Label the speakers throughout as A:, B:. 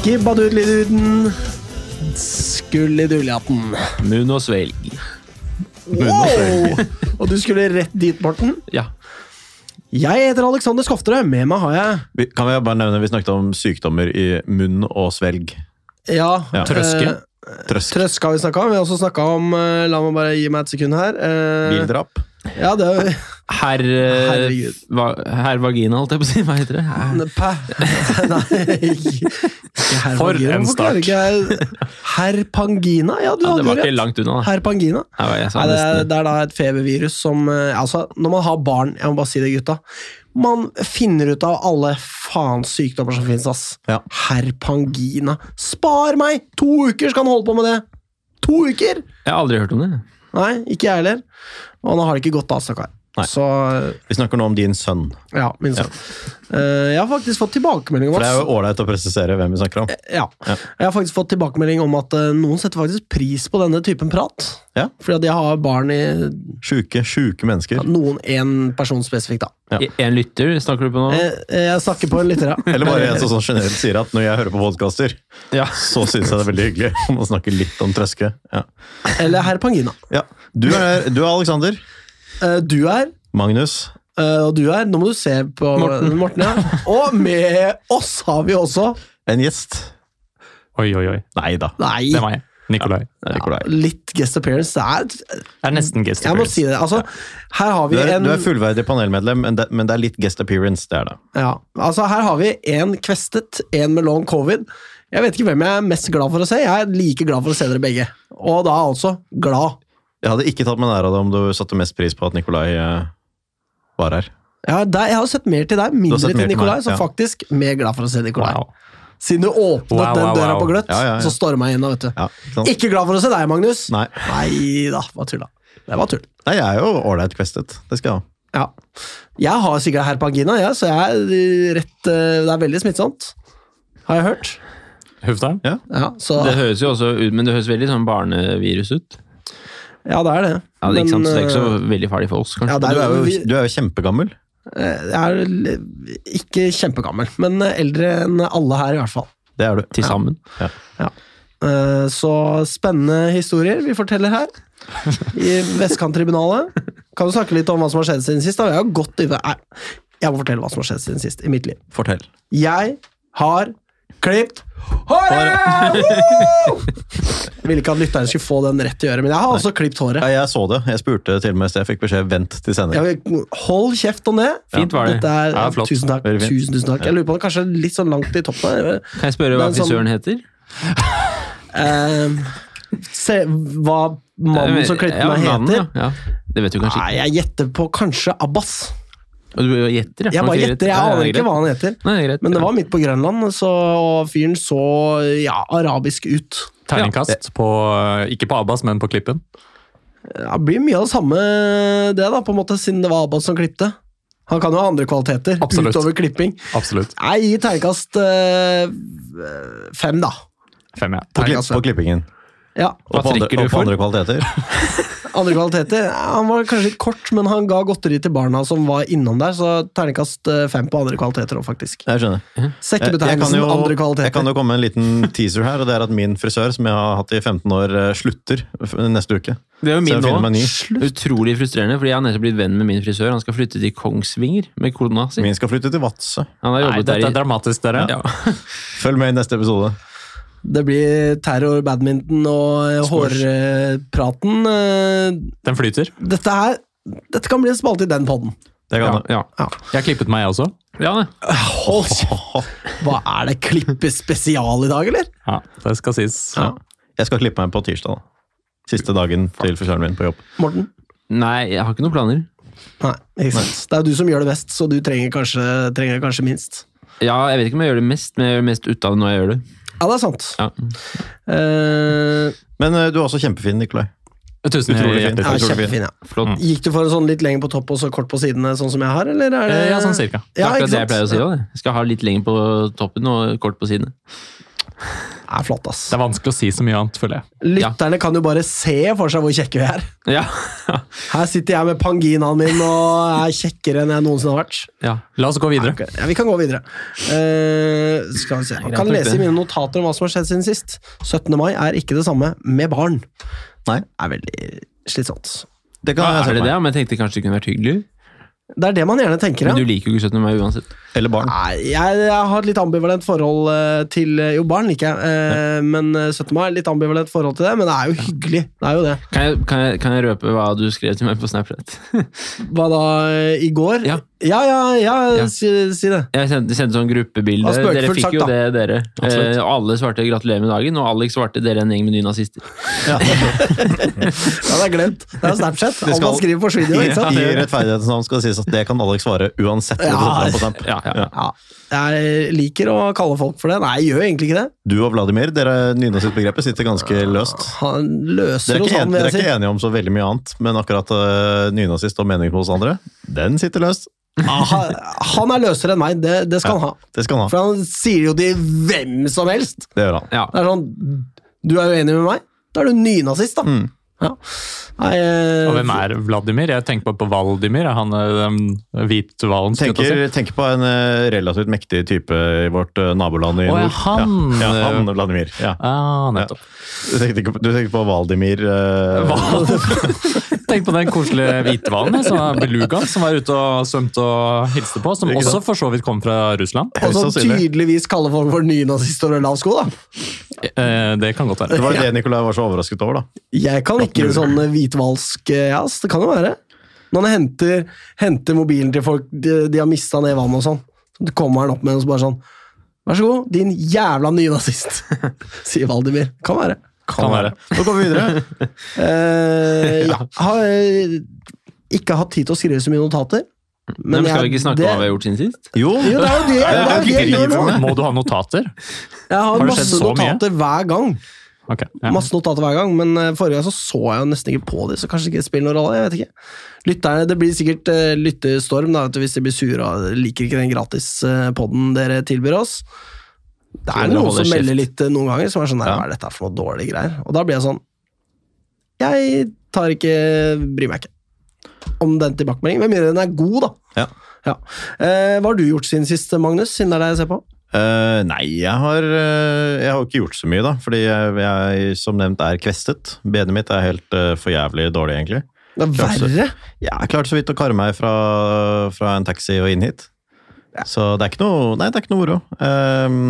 A: Skibbadudeliduden, skulliduliaten.
B: Munn og svelg.
A: Wow! Og du skulle rett dit, Morten.
B: Ja.
A: Jeg heter Alexander Skofterød. Med meg har jeg
C: Vi- Kan vi bare nevne, vi snakket om sykdommer i munn og svelg.
A: Ja.
C: Ja.
B: Trøske.
A: eh,
C: Trøsk.
A: Trøsk har vi snakka om. Vi har også snakka om eh, La meg bare gi meg et sekund her. eh,
C: Bildrap.
A: ja, det er
B: Herr eh,
A: Herregud.
B: Herr vagina, holdt jeg på å si. Hva heter det? Herr-
A: Pæ. Nei ikke herr
B: For
A: Pangina.
B: en
A: Hvorfor
B: start.
A: klarer ikke jeg- Herr Pangina? Ja, du
B: Ja, det
A: hadde jo
B: var ikke
A: rett.
B: langt unna, da.
A: Herr Pangina.
B: Her var jeg, sa
A: Nei, det, er,
B: nesten.
A: det er da et febervirus som eh, Altså, når man har barn, jeg må bare si det, gutta Man finner ut av alle faens sykdommer som finnes, ass.
C: Ja.
A: Herpangina. Spar meg! To uker skal han holde på med det! To uker!
B: Jeg har aldri hørt om det.
A: Nei, ikke jeg heller. Og nå har det ikke gått av, stakkar.
C: Nei.
A: Så eh,
C: Vi snakker nå om din sønn.
A: ja, min sønn. Eh, jeg har faktisk fått tilbakemelding om
C: For det
A: at
C: er jo ålreit å presisere hvem vi snakker om.
A: ja. Jeg har faktisk fått tilbakemelding om at eh, noen setter faktisk pris på denne typen prat.
C: Ja.
A: Fordi at jeg har barn i
C: Sjuke, sjuke mennesker.
A: noen én person spesifikt, da.
C: Ja.
B: I- En lytter snakker du på nå?
A: Jeg, Eh, jeg snakker på en lytter, ja.
C: Eller bare en som sånn generelt sier at når jeg hører på podkaster,
B: Ja.
C: så syns jeg det er veldig hyggelig om å snakke litt om trøske. Ja.
A: Eller herr Pangina.
C: Ja. Du, er, du er Alexander.
A: Eh, Du er,
C: Magnus.
A: eh, og du er. Nå må du se på Morten. ja. Og med oss har vi også
C: En gjest.
D: Oi, oi, oi.
C: Nei da.
A: Nei,
D: Det er meg. Nikolai.
C: Det er Nikolai.
A: litt guest appearance. Det er,
D: Det er nesten gest.
A: jeg må si det. Altså, her har
C: Du
A: vi
C: er,
A: en
C: du er fullverdig panelmedlem, men det, men det er litt guest appearance. det er det.
A: ja, altså, Her har vi en kvestet, en med long covid. Jeg vet ikke hvem jeg er mest glad for å se. Jeg er like glad for å se dere begge. Og da altså glad.
C: Jeg hadde ikke tatt meg nær av det om du satte mest pris på at Nikolai eh, var her.
A: Jeg har, deg, jeg har sett mer til deg,
C: har
A: mindre
C: sett
A: til
C: mer til
A: Nikolai,
C: meg,
A: så
C: ja.
A: faktisk mer glad for å se Nikolai.
D: Wow.
A: Siden du åpnet
D: Wow,
A: den
D: wow,
A: døra
D: wow.
A: på gløtt,
C: Ja, ja, ja.
A: så storma jeg inn. da, Vet du.
C: Ja, ikke sant?
A: Ikke glad for å se deg, Magnus.
C: Nei.
A: Nei da, hva tull da. Det var tull.
C: Nei, jeg er jo ålreit kvestet. Det skal jeg ha.
A: Ja. Jeg har sikkert herpangina, ja, så jeg er eh, rett eh, Det er veldig smittsomt. Har jeg hørt.
D: Hufta?
C: Ja.
A: Ja, så,
B: Det høres jo også ut, men det høres veldig sånn barnevirus ut.
A: ja det er det.
B: Ja, det, er ikke sant? Så det er ikke
A: eh,
B: så veldig farlig for oss, kanskje.
A: ja, det
C: Du
A: er,
C: er
A: vi,
C: jo, du er jo kjempegammel.
A: eh, jeg er l- ikke kjempegammel, men eh, eldre enn alle her, i hvert fall.
C: Det er du.
B: Til sammen.
A: Eh, Så spennende historier vi forteller her. I Vestkanttribunalet. Kan du snakke litt om hva som har skjedd siden sist? da? Jeg har gått i det. Nei, jeg må fortelle hva som har skjedd siden sist i mitt liv.
C: Fortell.
A: Jeg har klipt håret! Woo! Jeg ville ikke at lytteren skulle få den rett i øret, men jeg har også klipt håret.
C: Ja, jeg så det. Jeg spurte til og med så jeg fikk beskjed vent til sending.
A: Jeg vil, hold kjeft om det.
B: Fint var det.
A: Dette er,
D: Ja, flott.
A: Tusen takk.
C: Veldig fint.
A: Tusen, tusen takk. Jeg lurer på det kanskje er litt sånn langt i toppen.
B: Kan jeg spørre
A: Det er
B: hva
A: en sånn-
B: frisøren heter?
A: Eh, se hva mannen som klipte
B: Eh, Ja,
A: meg,
B: mannen,
A: heter.
B: Ja. Ja. Det vet du kanskje
A: Nei,
B: ikke.
A: jeg gjetter på kanskje Abbas.
B: Og du gjetter, ja.
A: Jeg bare
B: Ok, greit.
A: gjetter, jeg
B: Ja, ja,
A: aner
B: greit.
A: ikke hva han heter.
B: Nei, det er greit.
A: Men det
B: Ja.
A: var midt på Grønland, så, og fyren så ja, arabisk ut.
D: Terningkast på eh, Ikke på Abbas, men på Klippen.
A: Ja, det blir mye av det samme det, da, på en måte, siden det var Abbas som klipte. Han kan jo ha andre kvaliteter
D: Absolutt.
A: utover klipping.
D: Absolutt.
A: Nei, gi terningkast eh, fem, da.
D: Fem, ja.
C: På,
D: Terning-
A: altså.
C: klipp, på klippingen.
A: Ja,
C: Og
B: Hva
C: på, andre,
B: trekker du
C: og på
B: for?
C: andre kvaliteter.
A: Andre kvaliteter. Ja, Han var kanskje litt kort, men han ga godteri til barna som var innom der, så terningkast eh, fem på andre kvaliteter òg, faktisk.
C: Jeg skjønner. Jeg, jeg, kan
A: Sekkebetegnelsen
C: jo,
A: andre
C: jeg kan
A: kvaliteter.
C: jo komme med en liten teaser her, og det er at min frisør, som jeg har hatt i 15 år, eh, slutter f- neste uke.
B: Det er jo
C: Så jeg
B: min nå.
C: finner meg en ny.
B: Utrolig frustrerende, fordi jeg har nettopp blitt venn med min frisør. Han skal flytte til Kongsvinger med kona si.
C: Min skal flytte til Vadsø.
B: Han har
D: Nei,
B: jobbet
D: dette er
B: der i
D: dramatisk, dere.
B: ja.
C: Følg med i neste episode.
A: Det blir terror, badminton og eh,
C: Squash.
A: hårpraten. eh,
D: Den flyter.
A: Dette her Dette kan bli en spalte i den podden.
C: Det
B: Ja,
C: kan
B: ja.
D: Jeg klippet meg, jeg også.
B: ja det.
A: Hold kjeft! Hva er det? Klippe spesial i dag, eller?
D: Ja, det skal sies.
C: Ja. Jeg skal klippe meg på tirsdag. da. Siste dagen til frisøren min på jobb.
A: Morten?
B: Nei, jeg har ikke noen planer.
A: Nei, ikke sant. Det er jo du som gjør det best, så du trenger kanskje, trenger kanskje minst.
B: Ja, jeg vet ikke om jeg gjør det mest, men jeg gjør det mest ut av det når jeg gjør det.
A: Ja, det er sant.
B: Ja.
A: Eh,
C: Men eh, du er også kjempefin, Nikolai.
D: Tusen
C: Utrolig fint.
D: hjertelig
A: ja,
D: takk.
C: tror det blir
A: kjempefin, ja.
B: Flott.
C: Mm.
A: Gikk du for en sånn litt lenger på topp og så kort på sidene, sånn som jeg har, eller? Er det...
D: Eh, Ja, sånn cirka.
B: Det er
A: Ja, ikke
B: akkurat det jeg
A: sant?
B: pleier å si òg. Skal ha litt lenger på toppen og kort på sidene.
A: er flott, ass.
D: Det er vanskelig å si så mye annet, føler jeg.
A: Lytterne kan jo bare se for seg hvor kjekke vi er.
B: Ja.
A: Her sitter jeg med panginaen min og er kjekkere enn jeg noensinne har vært.
D: Ja. La oss gå videre.
A: Ok, Ja, vi kan gå videre. Eh, skal vi se. Jeg kan lese i mine notater om hva som har skjedd siden sist. 17. mai er ikke det samme med barn.
C: Nei.
A: Det er veldig slitsomt.
C: Det kan
B: Ja,
C: jeg
B: er
C: se
B: Altså, det
C: for
B: det?
C: meg.
B: Men jeg tenkte kanskje det kunne vært hyggelig.
A: Det er det man gjerne tenker,
B: Men du
A: ja.
B: liker jo ikke 17. mai uansett.
C: Eller barn.
A: Nei, jeg, jeg har et litt ambivalent forhold eh, til Jo, barn liker jeg, eh, men eh, 17. mai er litt ambivalent forhold til det. Men det er jo hyggelig. Det er jo det.
B: Kan jeg, kan, jeg, kan jeg røpe hva du skrev til meg på Snapchat?
A: Hva da, eh, i går?
B: Ja.
A: ja, ja, ja,
B: Ja.
A: Si, si det.
B: Jeg sendte, sendte sånn gruppebilde.
A: Det var spøkefullt
B: Dere fikk
A: sagt,
B: jo
A: da.
B: det, dere.
D: Absolutt.
B: Eh, og alle svarte 'gratulerer med dagen', og Alex svarte 'dere er en gjeng med nynazister'.
A: Ja, det er glemt. Det er Snapchat.
C: Det
A: Alt
C: skal-
A: man skriver, forsvinner jo,
C: I,
A: ikke sant?
C: I rettferdighetens navn skal det sies at det kan Alex svare uansett. hvor
A: Ja.
C: du sender på Snap.
B: Ja, ja.
A: Ja, jeg liker å kalle folk for det. Nei, jeg gjør egentlig ikke det.
C: Du og Vladimir, dere nynazistbegrepet sitter ganske løst.
A: Han
C: Dere
A: løser
C: er,
A: hos
C: ikke
A: han,
C: enige,
A: vil
C: dere
A: jeg
C: er
A: si.
C: ikke enige om så veldig mye annet, men akkurat øh, nynazist og meningen hos andre, den sitter løst.
A: Han, han er løsere enn meg, det, det skal han ha.
C: Det skal han ha.
A: For han sier jo til hvem som helst.
C: Det gjør han.
B: ja.
A: Det er sånn Du er uenig med meg? Da er du nynazist, da.
C: Mm.
A: Ja. Nei, eh,
D: Og hvem er Vladimir? Jeg tenker bare på Valdimir. er Han eh, den hvithvalen. skulle jeg til å si.
C: Tenker, tenker på en øh, relativt mektig type i vårt øh, naboland i
D: Å, ja,
C: nord.
D: han. eh,
C: Ja. ja, han Vladimir. Ja.
D: Ah, nettopp.
C: Du, tenkte ikke på, du tenkte på Valdimir øh,
D: Hva- Tenk på den koselige hvithvalen som er belugaen, som var ute og svømte og hilste på. Som
C: Ikke sant?
D: også for så vidt kom fra Russland.
A: Og som
C: høyst sannsynlig.
A: tydeligvis kaller folk for nynazist over lav sko, da.
D: Eh, Det kan godt
C: Det
D: være.
C: var jo det Nikolai var så overrasket over, da.
A: Jeg kan ikke sånn hvitvalsk eh, ass. Det kan jo være. Når han henter, henter mobilen til folk de, de har mista ned i vannet og sånn, så kommer han opp med den og så bare sånn Vær så god, din jævla nynazist, sier Valdimir. Kan være.
D: Kan være.
C: Nå går vi videre.
A: Eh, ja. Har eh, ikke hatt tid til å skrive så mye notater.
B: Men, skal vi
A: jeg-
B: ikke snakke om hva vi har gjort siden sist?
C: Jo,
A: Jo, det er jo det, det, er jo det jeg gjør nå!
B: liksom.
D: Må du ha notater?
A: Jeg har,
D: Har det
A: masse
D: skjedd så mye?
A: notater hver gang.
D: Ok. Ja.
A: Masse notater hver gang, men eh, forrige gang så, så jeg jo nesten ikke på dem, så kanskje ikke det spiller noen rolle. jeg vet ikke. Lytterne, Det blir sikkert eh, lyttestorm da, vet du, hvis de blir sure og liker ikke den gratis-poden dere tilbyr oss. Det
B: Så
A: er
B: dere
A: noen
B: holder
A: som melder
B: kjeft.
A: litt eh, noen ganger som er sånn nei,
C: Ja.
A: Hva er dette for noe dårlige greier? Og da blir jeg sånn Jeg tar ikke Bryr meg ikke om den tilbakemeldingen, med mindre den er god, da.
C: Ja.
A: Eh, hva har du gjort siden sist, Magnus? Siden det er deg jeg ser på?
C: Eh, nei, jeg har, eh, jeg har jo ikke gjort så mye, da. Fordi jeg, jeg som nevnt er kvestet. Benet mitt er helt eh, for jævlig dårlig, egentlig.
A: Det er
C: Klasse.
A: verre.
C: Jeg klarte så vidt å karre meg fra, fra en taxi og inn hit. Så det er ikke noe, nei, det er ikke noe moro. Ehm,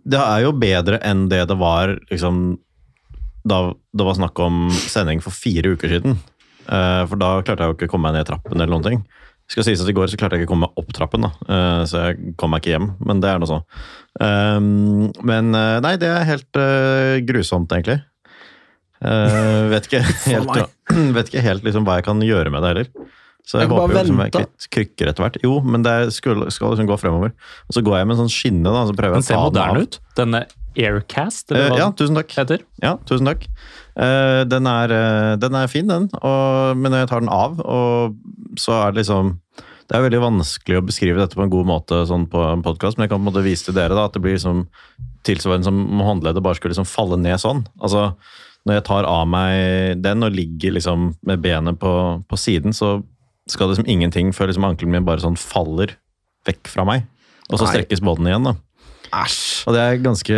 C: det er jo bedre enn det det var liksom, da det var snakk om sending for fire uker siden. Eh, for da klarte jeg jo ikke å komme meg ned trappen eller noen ting. Skal sies at I går så klarte jeg ikke å komme meg opp trappen, da. Eh, så jeg kom meg ikke hjem. Men det er nå så. Ehm, men eh, nei, det er helt eh, grusomt, egentlig. Eh, vet ikke helt, vet ikke helt liksom, hva jeg kan gjøre med det heller. Så jeg,
A: Jeg kan bare
C: håper jo liksom, jeg
A: vente.
C: kvitt- krykker etter hvert. Jo, men det skal, skal liksom gå fremover. Og så går jeg med en sånn skinne, da, så prøver
D: Den
C: jeg
D: ser
C: å ta den
D: moderne
C: av.
D: ut. Denne Aircast, eller
C: Eh,
D: hva
C: ja,
D: den
C: tusen takk.
D: heter.
C: Ja, tusen takk. Eh, den, er, eh, den er fin, den. Og, men når jeg tar den av, og så er det liksom Det er veldig vanskelig å beskrive dette på en god måte sånn på en podkast, men jeg kan på en måte vise til dere da, at det blir liksom tilsvarende som om håndleddet bare skulle liksom falle ned sånn. Altså, når jeg tar av meg den og ligger liksom med benet på, på siden, så skal det liksom ingenting før liksom ankelen min bare sånn faller vekk fra meg. Og så
A: Nei.
C: strekkes båten igjen, da.
A: Æsj.
C: Og det er ganske,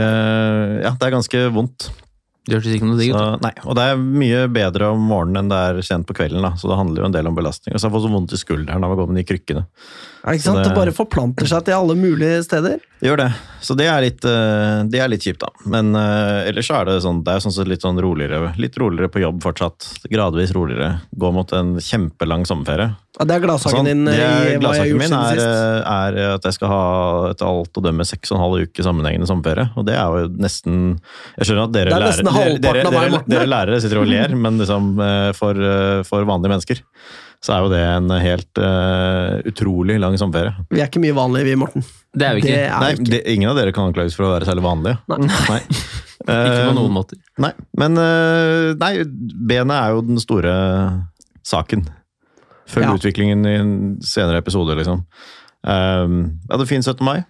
C: ja, det er ganske vondt.
B: Det hørtes ikke noe digg
C: Så,
B: ut.
C: Eh, nei, og det er mye bedre om morgenen enn det er sent på kvelden, da. så det handler jo en del om belastning. Og så har jeg fått så vondt i skulderen av å gå med de krykkene.
A: Ja, ikke sant?
C: det-
A: det bare forplanter seg til alle mulige steder.
C: Gjør det. Så det er litt, eh, det er litt kjipt, da. Men eh, ellers så er det sånn, det er sånn sett litt sånn roligere, litt roligere på jobb fortsatt. Gradvis roligere. Gå mot en kjempelang sommerferie.
A: Ja, det er gladsaken
C: Sånn,
A: din
C: det
A: i
C: er,
A: hva jeg har
C: gladsaken
A: gjort
C: min
A: siden
C: er, eh,
A: sist.
C: er at jeg skal ha etter alt å dømme seks og en halv uke sammenhengende sommerferie. Og det er jo nesten Jeg skjønner at dere
A: Det er
C: lærere
A: nesten
C: dere, dere,
A: halvparten av meg,
C: dere,
A: Morten,
C: dere
A: det.
C: lærere sitter og ler, men liksom, eh, for, eh, for vanlige mennesker så er jo det en helt eh, utrolig lang sommerferie.
A: Vi er ikke mye vanlige, vi, Morten.
B: Det er jo
A: Det
B: ikke.
A: er
C: Nei,
A: vi ikke.
C: det, ingen av dere kan anklages for å være særlig vanlige.
A: Nei.
B: Ikke på noen
C: Eh,
B: måter.
C: Nei, men eh, nei, benet er jo den store saken. Følg
A: Ja.
C: Ehm, utviklingen i en senere episode, liksom. Um, jeg hadde fin 17. mai.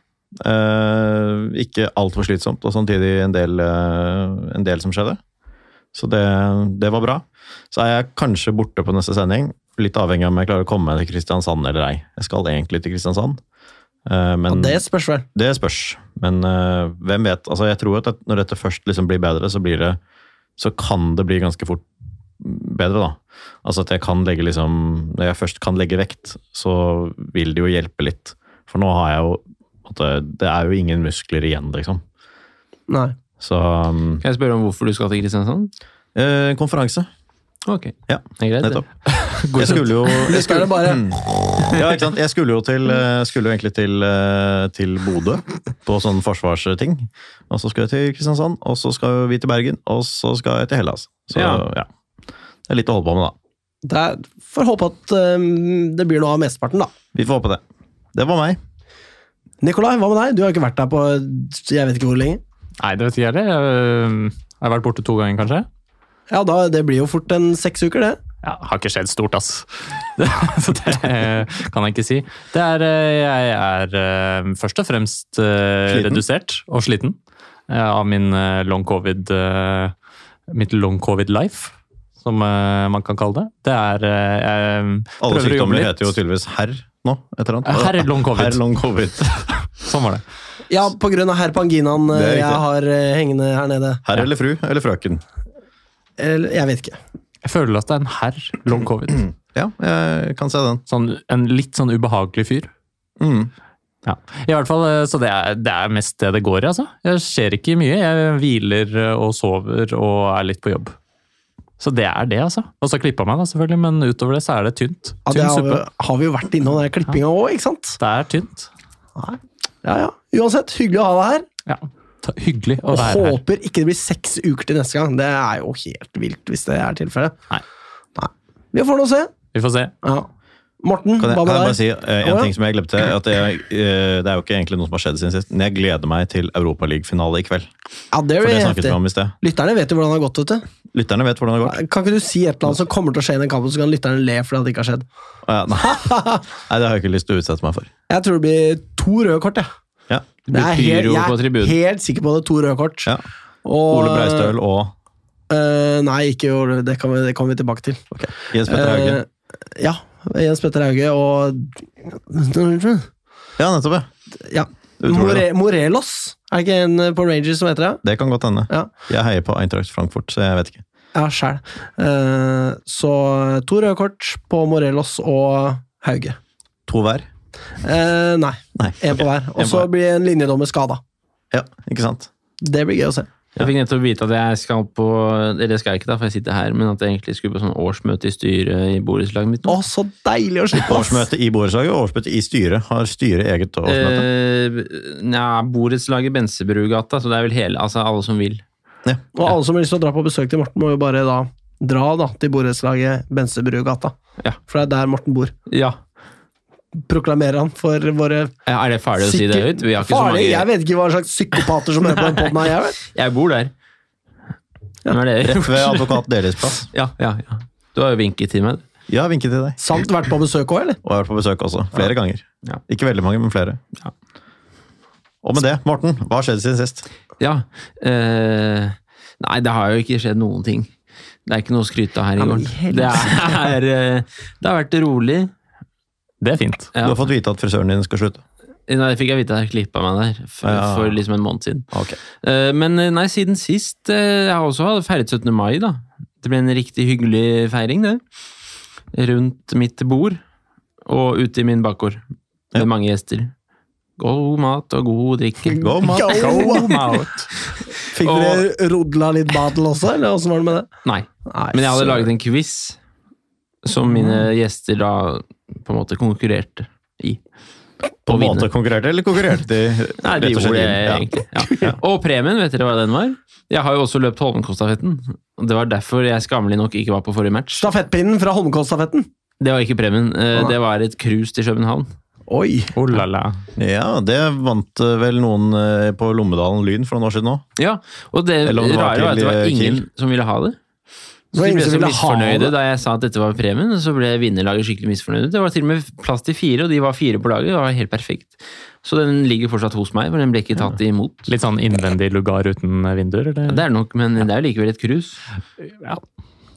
C: Eh, ikke altfor slitsomt, og samtidig en del, eh, en del som skjedde. Så det, det var bra. Så er jeg kanskje borte på neste sending. Litt avhengig av om jeg klarer å komme meg til Kristiansand eller ei. Jeg skal egentlig til Kristiansand.
A: Ja,
C: Eh, men
A: det spørs vel.
C: det spørs. Men eh, hvem vet? Altså, jeg tror at det- når dette først liksom blir bedre, så, blir det, så kan det bli ganske fort bedre, da. Altså at jeg kan legge liksom Når jeg først kan legge vekt, så vil det jo hjelpe litt. For nå har jeg jo på en måte, Det er jo ingen muskler igjen, liksom.
A: Nei.
C: Så um,
B: Kan jeg spørre om hvorfor du skal til Kristiansand?
C: eh, Konferanse.
B: Ok,
C: Ja,
B: det er greit. det.
C: nettopp. Jeg skulle jo jeg
A: Hvis det er
C: skulle,
A: det bare
C: Mm. ja, ikke sant? Jeg skulle jo til, eh, skulle jo egentlig til, eh, til Bodø på sånne forsvarsting. Og så skal jeg til Kristiansand, og så skal vi til Bergen, og så skal jeg til Hellas. Så ja.
B: Ja.
C: Det er litt å holde på med, da.
A: det er, Får håpe at øhm, det blir noe av mesteparten, da.
C: Vi får håpe det. Det var meg.
A: Nikolai, hva med deg? Du har ikke vært der på jeg vet ikke hvor lenge.
D: Nei, det vet ikke jeg heller. Jeg øh, har vært borte to ganger, kanskje.
A: Ja, da, Det blir jo fort en seks uker, det.
D: Ja, det har ikke skjedd stort, ass. Så det øh, kan jeg ikke si. Det er, øh, jeg er øh, først og fremst øh,
C: Sliten.
D: redusert og sliten øh, av min øh, long covid, øh, mitt long covid life, som øh, man kan kalle det. Det er øh, jeg prøver
C: Alle
D: å jobbe
C: sykdommer
D: litt.
C: heter jo tydeligvis herr nå. Et eller annet.
D: Herr long covid.
C: Herr long covid.
D: Sånn var det.
A: Ja, på grunn av herpanginaen
C: Det er
A: øh,
C: riktig.
A: jeg har øh, hengende her nede.
C: Herr eller fru eller frøken.
A: Eller, jeg vet ikke.
D: Jeg føler at det er en herr long covid.
C: Ja, jeg kan se den.
D: Sånn, en litt sånn ubehagelig fyr.
C: Mm.
D: Ja, i hvert fall, eh, Så det er, det er mest det det går i, altså. Jeg skjer ikke mye. Jeg hviler eh, og sover og er litt på jobb. Så det er det, altså. Og så klippa meg, da, selvfølgelig, men utover det så er det tynt.
A: Ja, det
D: Tynn
A: har vi,
D: suppe.
A: har vi jo vært innom den klippinga òg, ikke sant?
D: Det er tynt.
A: Nei. Ja, ja. Uansett, hyggelig å ha deg her.
D: Ja. Ta- Hyggelig å
A: Og
D: være her.
A: håper ikke det blir seks uker til neste gang. Det er jo helt vilt hvis det er tilfellet.
D: Nei.
A: Nei. Vi får nå se.
D: Vi får se.
A: Ja. Morten,
C: Kan jeg,
A: hva
C: kan jeg
A: med
C: bare
A: deg?
C: si eh, en
A: Å, ja.
C: ting som jeg glemte? At jeg, eh, det er jo ikke egentlig noe som har skjedd siden sist, men jeg gleder meg til Europaliga-finale i kveld.
A: Ja, det
C: For
A: blir
C: det snakket
A: heftig.
C: vi om i sted.
A: Lytterne vet jo hvordan det har gått. vet du.
C: Lytterne vet hvordan det går.
A: Kan ikke du si et eller annet som kommer til å skje i den kampen, så kan lytterne le fordi at det ikke har skjedd?
C: Å, ja, Nei, Nei, det har jeg ikke lyst til å utsette meg for.
A: Jeg tror det blir to røde kort, jeg.
C: Ja.
B: Det blir
A: er helt-
B: pyro på
A: jeg er
B: tribunen.
A: helt sikker på det. To røde kort.
C: Ja.
A: Og-
C: Ole Breistøl og
A: Eh, nei, ikke Ole. Det kommer det kommer vi tilbake til.
C: Jens Petter Hauge.
A: Eh, ja. Jens Petter Hauge og
C: Ja, nettopp, ja.
A: Ja.
C: Utrolig,
A: More, Morelos? Er det ikke en eh, på Rangers som heter det?
C: Det kan godt hende.
A: Ja,
C: Jeg heier på Eintracht Frankfurt, så jeg vet ikke.
A: ja sjæl. Eh, så to røde kort på Morelos og Hauge.
C: To hver?
A: Eh, nei,
C: Nei.
A: én på hver. Og
C: En på
A: så
C: hver.
A: blir en linjedommer skada.
C: Ja, ikke sant?
A: Det blir gøy å se.
B: Jeg fikk nettopp vite at jeg skal på Eller det skal jeg ikke, da, for jeg sitter her, men at jeg egentlig skulle på sånn årsmøte i styret i borettslaget mitt. nå.
A: Å, så deilig å slippe! ass.
C: Årsmøte i borettslaget og årsmøte i styret. Har styret eget årsmøte?
B: Eh, Nja, borettslaget Bensebrugata, så det er vel hele Altså alle som vil.
A: Og alle som har lyst til å dra på besøk til Morten, må jo bare da dra da, til borettslaget Bensebrugata.
B: Ja.
A: For det er der Morten bor.
B: Ja.
A: Proklamerer han for våre
B: Er det farlig å si det
A: Sikkert-
B: høyt? Vi har ikke så
A: Farlig?
B: mange
A: Jeg vet ikke hva slags psykopater som hører på den podden her, jeg vel.
B: Jeg bor der. Nå er det
C: Rett ved advokat Delis plass.
B: Ja, ja, ja. Du har jo vinket til meg.
C: Ja, vinke til deg.
A: Samt vært på besøk òg, eller?
C: Og jeg har vært på besøk også. Flere ganger.
B: Ja.
C: Ikke veldig mange, men flere.
B: Ja.
C: Og med det, Morten, hva har skjedd siden sist?
B: Ja. eh, nei, det har jo ikke skjedd noen ting. Det er ikke noe å skryte av her
A: Ja,
B: i
A: men i
B: gården. Det, er, eh, det har vært rolig.
D: Det er fint.
B: Ja.
C: Du har fått vite at frisøren din skal slutte.
B: Nei, det fikk jeg vite at jeg klippa meg der for,
C: Ja.
B: for liksom en måned siden.
C: Ok.
B: Eh, men eh, nei, siden sist eh, Jeg har også hadde feiret 17. mai, da. Det ble en riktig hyggelig feiring, det. Rundt mitt bord og ute i min bakgård. Med mange gjester. God mat og god drikke.
C: Go, Matt.
A: Go!
D: Out.
A: Fikk dere rodla litt badel også, eller åssen var det med det?
B: Nei.
A: Nei,
B: Men jeg hadde
A: så-
B: laget en quiz som
C: Mm.
B: mine gjester da på en måte konkurrerte i.
C: På en
B: vinne.
C: måte konkurrerte, eller konkurrerte de
B: Nei, de
C: rett og
B: gjorde
C: slett
B: det
C: inn?
B: egentlig. Ja. Og premien, vet dere hva den var? Jeg har jo også løpt Holmenkollstafetten. og Det var derfor jeg skammelig nok ikke var på forrige match.
A: Stafettpinnen fra Holmenkollstafetten.
B: Det var ikke premien, eh,
A: Å, nei.
B: det var et cruise til København.
A: Oi!
D: Oh la la.
C: Ja. ja, det vant eh, vel noen eh, på Lommedalen Lyn for noen år siden òg.
B: Ja, og det
C: Eller om det var
B: rare var at det var
C: til, eh,
B: ingen som ville ha det.
A: Det
B: Så
A: var
B: de
A: ingen
B: ble
A: som
B: så
A: ville ha
B: misfornøyde
A: det.
B: da jeg sa at dette var premien, og så ble vinnerlaget skikkelig misfornøyde. Det var til og med plass til fire, og de var fire på laget. Det var helt perfekt. Så den ligger fortsatt hos meg, for den ble ikke tatt imot.
D: Litt sånn innvendig lugar uten vinduer, eller?
B: Det er nok, men det er jo likevel et krus.
D: Ja.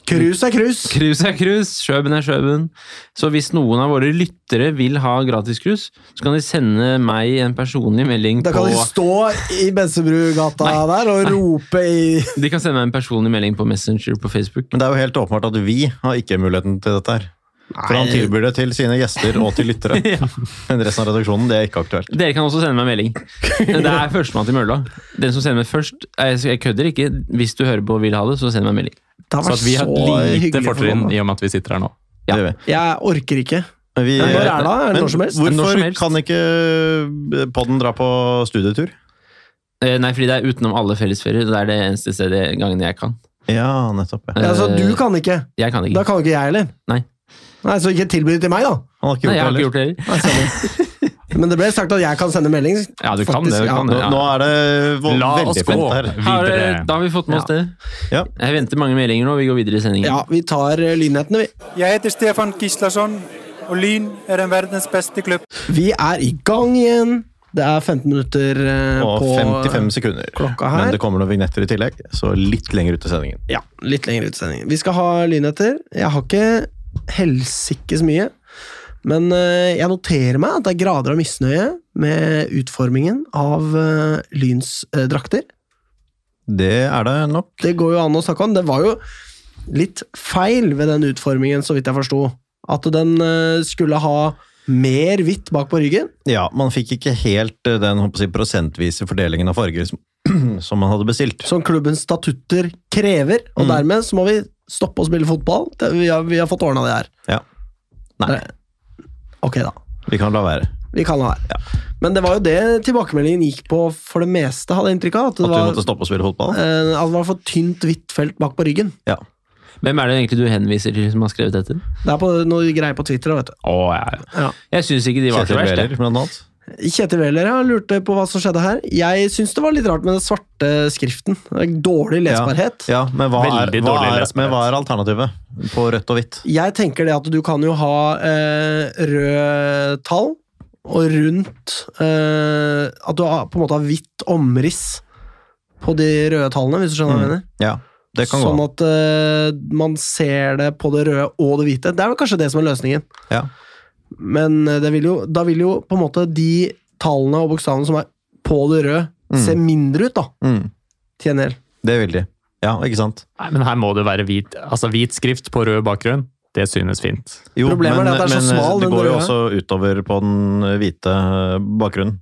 A: Krus er krus!
B: Krus er krus, sjøben er sjøben. Så hvis noen av våre lyttere vil ha gratis krus, så kan de sende meg en personlig melding
A: Da
B: på
A: kan de stå i Bensebrugata der og rope i
B: De kan sende meg en personlig melding på Messenger på Facebook.
C: Men det er jo helt åpenbart at vi har ikke muligheten til dette her. For han tilbyr det til sine gjester og til lyttere. Men resten av redaksjonen, det er ikke aktuelt.
B: Dere kan også sende meg melding. Det er førstemann til mølla. Den som sender meg først eh, så Jeg kødder ikke. Hvis du hører på og vil ha det, så send meg melding.
A: Det
D: Så at vi har et lite fortrinn i og med at vi sitter her nå.
B: Ja.
C: Det gjør vi.
A: Jeg orker ikke.
C: Men vi-
A: Men når er det da? Er det når som helst?
C: Hvorfor
B: Når som helst.
C: kan ikke eh, podden dra på studietur?
B: Eh, Nei, fordi det er utenom alle fellesferier. og Det er det eneste stedet gangen jeg kan.
C: Ja, nettopp. Ja.
A: Ja, altså, du kan ikke.
B: Jeg kan
A: Da
B: ikke.
A: kan ikke jeg heller.
B: Nei.
A: Nei, Så ikke tilby det til meg, da.
C: Han har ikke
B: Nei,
C: gjort
B: jeg har
C: det
B: ikke
C: heller.
B: gjort det heller.
A: Nei, sorry. Men det ble sagt at jeg kan sende melding.
B: Ja, du kan
A: Faktisk,
B: det. Du kan
C: Nå,
B: det ja.
C: nå er det vo-
D: La oss
C: veldig
D: gå
C: spent her.
B: Her,
D: videre.
B: eh, da har vi fått med oss det.
C: Ja.
B: Jeg venter mange meldinger nå. Vi går videre i sendingen.
A: Ja, vi tar eh, lynhetene, vi.
E: Jeg heter Stefan Gislason, og Lyn er en verdens beste klubb.
A: Vi er i gang igjen. Det er 15 minutter eh,
C: Og
A: på
C: 55 sekunder.
A: klokka her.
C: Men det kommer noen vignetter i tillegg, så litt lenger ut i sendingen.
A: Ja, litt lengre utsending. Vi skal ha lynheter. Jeg har ikke helsikkes mye. Men eh, jeg noterer meg at det er grader av misnøye med utformingen av eh, Lyns eh, drakter.
C: Det er det nok.
A: Det går jo an å snakke om. Det var jo litt feil ved den utformingen, så vidt jeg forsto. At den eh, skulle ha mer hvitt bak på ryggen.
C: Ja, man fikk ikke helt eh, den håper jeg, å si, prosentvise fordelingen av farger som, som man hadde bestilt.
A: som klubbens statutter krever, og
C: Mm.
A: dermed så må vi stoppe å spille fotball. Det, vi, har, vi har fått ordna det her.
C: Ja. Nei,
A: Det- Ok, da.
C: vi kan la være.
A: Vi kan la være. Men det var jo det tilbakemeldingen gikk på for det meste, hadde jeg inntrykk av. At det,
C: At vi måtte
A: var,
C: stoppe å spille fotball.
A: eh, at det var for tynt hvitt felt bak på ryggen.
C: Ja.
B: Hvem er det egentlig du henviser til som har skrevet dette?
A: Det er på, noe greier på Twitter, vet du.
B: Å, ja.
A: Ja.
B: Jeg syns ikke de var så
C: Kjetil
B: verst. jeg.
C: Wæler, blant annet.
A: Kjetil Wæler ja, lurte på hva som skjedde her. Jeg syns det var litt rart med den svarte skriften. Det er Dårlig lesbarhet.
C: Ja, men hva er,
D: Veldig
C: hva,
D: dårlig
C: er,
D: lesbarhet.
C: men hva er alternativet på rødt og hvitt?
A: Jeg tenker det at du kan jo ha eh, røde tall og rundt eh, At du har, på en måte har hvitt omriss på de røde tallene, hvis du skjønner hva jeg mener.
C: Ja, Mm, det kan
A: sånn
C: gå. an.
A: at eh, man ser det på det røde og det hvite. Det er vel kanskje det som er løsningen.
C: Ja.
A: Men eh, det vil jo, da vil jo på en måte de tallene og bokstavene som er på det røde,
C: Mm.
A: se mindre ut, da.
C: Mm,
A: Til en del.
C: det vil de. Ja, ikke sant?
D: Nei, men her må det være hvit, altså hvit skrift på rød bakgrunn. Det synes fint.
C: Jo,
A: Problemet er det at det er så
C: men, eh,
A: smal,
C: Det
A: den
C: går jo
A: røde.
C: også utover på den hvite eh, bakgrunnen.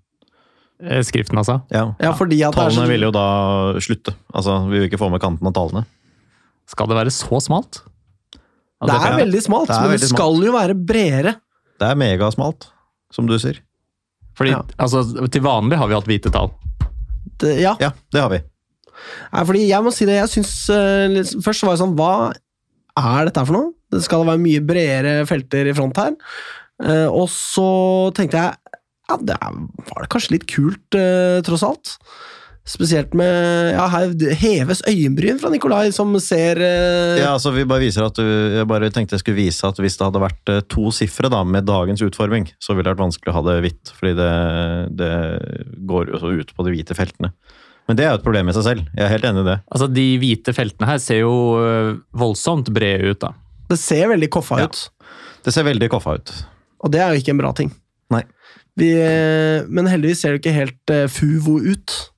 D: Eh, Skriften, altså.
C: Ja.
A: Ja, fordi at det er
C: Tallene
A: så-
C: vil jo da slutte. Altså, vi vil ikke få med kanten av tallene.
D: Skal det være så smalt? Ja,
A: Det
D: dette
A: er
C: er-
A: veldig smalt,
C: det er
A: men
C: veldig
A: det
C: smalt.
A: skal jo være bredere.
C: Det er megasmalt, som du sier.
D: Fordi,
A: Ja.
D: altså, til vanlig har vi hatt hvite tall.
A: Det, ja,
C: Ja, det har vi.
A: Nei, fordi jeg må si det, jeg syns eh, litt- Først så var jeg sånn, hva er dette her for noe? Det skal være mye bredere felter i front her. Eh, og så tenkte jeg, ja, det er, var det kanskje litt kult, eh, tross alt. Spesielt med Ja, her heves øyenbryn fra Nikolai, som ser eh,
C: Ja, altså, vi bare viser at du, jeg bare tenkte jeg skulle vise at hvis det hadde vært eh, to sifre da, med dagens utforming, så ville det vært vanskelig å ha det hvitt, fordi det, det går jo så ut på de hvite feltene. Men det er jo et problem i seg selv. Jeg er helt enig i det.
D: Altså, de hvite feltene her ser jo øh, voldsomt brede ut, da.
A: Det ser veldig koffa
C: Ja.
A: ut,
C: Det ser veldig koffa ut.
A: og det er jo ikke en bra ting.
C: Nei.
A: Vi, eh, men heldigvis ser det ikke helt eh, fuvo ut.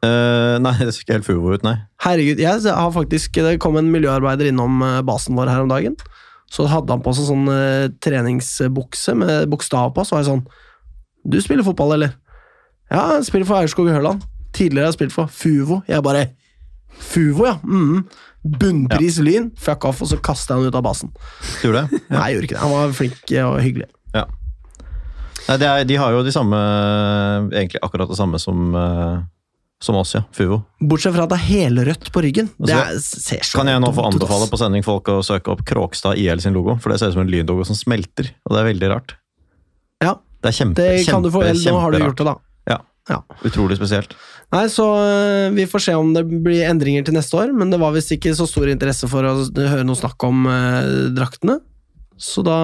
C: Eh, nei, det ser ikke helt fuvo ut, nei.
A: Herregud, jeg har faktisk Det kom en miljøarbeider innom eh, basen vår her om dagen. Så hadde han på seg sånn eh, treningsbukse med bokstav på, så var jeg sånn Du spiller fotball, eller? Ja, jeg spiller for Aurskog Høland. Tidligere har jeg spilt for Fuvo. Jeg bare Fuvo, ja. Mm. Bunnpris Lyn. Fuck off, og så kasta jeg han ut av basen.
C: Tror du det?
A: Nei, jeg gjorde ikke det. Han var flink eh, og hyggelig.
C: Nei, det er, de har jo de samme eh, Egentlig akkurat det samme som, eh, som oss, ja. Fuvo.
A: Bortsett fra at det er helrødt på ryggen. Det
C: Altså,
A: er, ser så
C: Kan jeg nå få
A: dumt ut, ass.
C: anbefale på sending folk å søke opp Kråkstad IL sin logo? For det ser ut som en lynlogo som smelter, og det er veldig rart.
A: Ja,
C: Det er kjempe,
A: det kan
C: kjempe,
A: du få. Eller nå har du
C: kjemperart.
A: gjort det, da.
C: Ja.
A: Ja.
C: Utrolig spesielt.
A: Nei, så øh, vi får se om det blir endringer til neste år, men det var visst ikke så stor interesse for å s- høre noe snakk om øh, draktene. Så da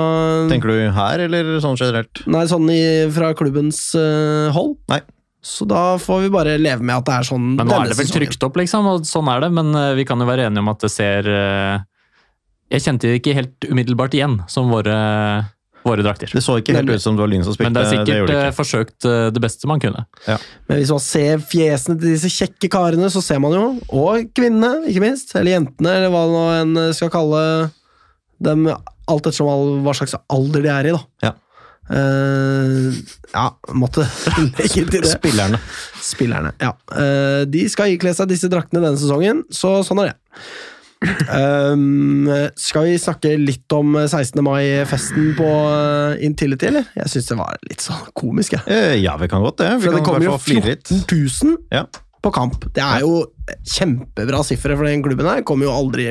C: Tenker du her, eller sånn generelt?
A: Nei, sånn i, fra klubbens øh, hold.
C: Nei.
A: Så da får vi bare leve med at det er sånn
D: Men nå
A: denne
D: er det vel
A: sesongen.
D: trykt opp, liksom, og sånn er det. Men eh, vi kan jo være enige om at det ser eh, Jeg kjente det ikke helt umiddelbart igjen som våre, våre drakter.
C: Det så ikke helt
A: Nemlig.
C: ut som det var Lyn som spilte.
D: Men det er
C: gjorde
D: sikkert
C: det
D: eh,
C: ikke.
D: forsøkt eh, det beste man kunne.
A: Men hvis man ser fjesene til disse kjekke karene, så ser man jo, og kvinnene, ikke minst, eller jentene, eller hva nå en skal kalle dem, alt ettersom all, hva slags alder de er i, da.
C: Ja.
A: Eh, ja, måtte legge til det.
C: Spillerne.
A: Spillerne, ja. Eh, de skal ikle seg disse draktene denne sesongen, så sånn er det. Um, skal vi snakke litt om 16. mai-festen på eh, Intility, eller? Jeg syns det var litt sånn komisk, jeg.
C: Eh, Ja, vi kan godt det. Vi
A: For
C: kan
A: det
C: i
A: kommer
C: hvert
A: jo
C: fall flire
A: 14
C: litt.
A: 000
C: Ja.
A: på kamp. Det er jo kjempebra siffre for den klubben her. Kommer jo aldri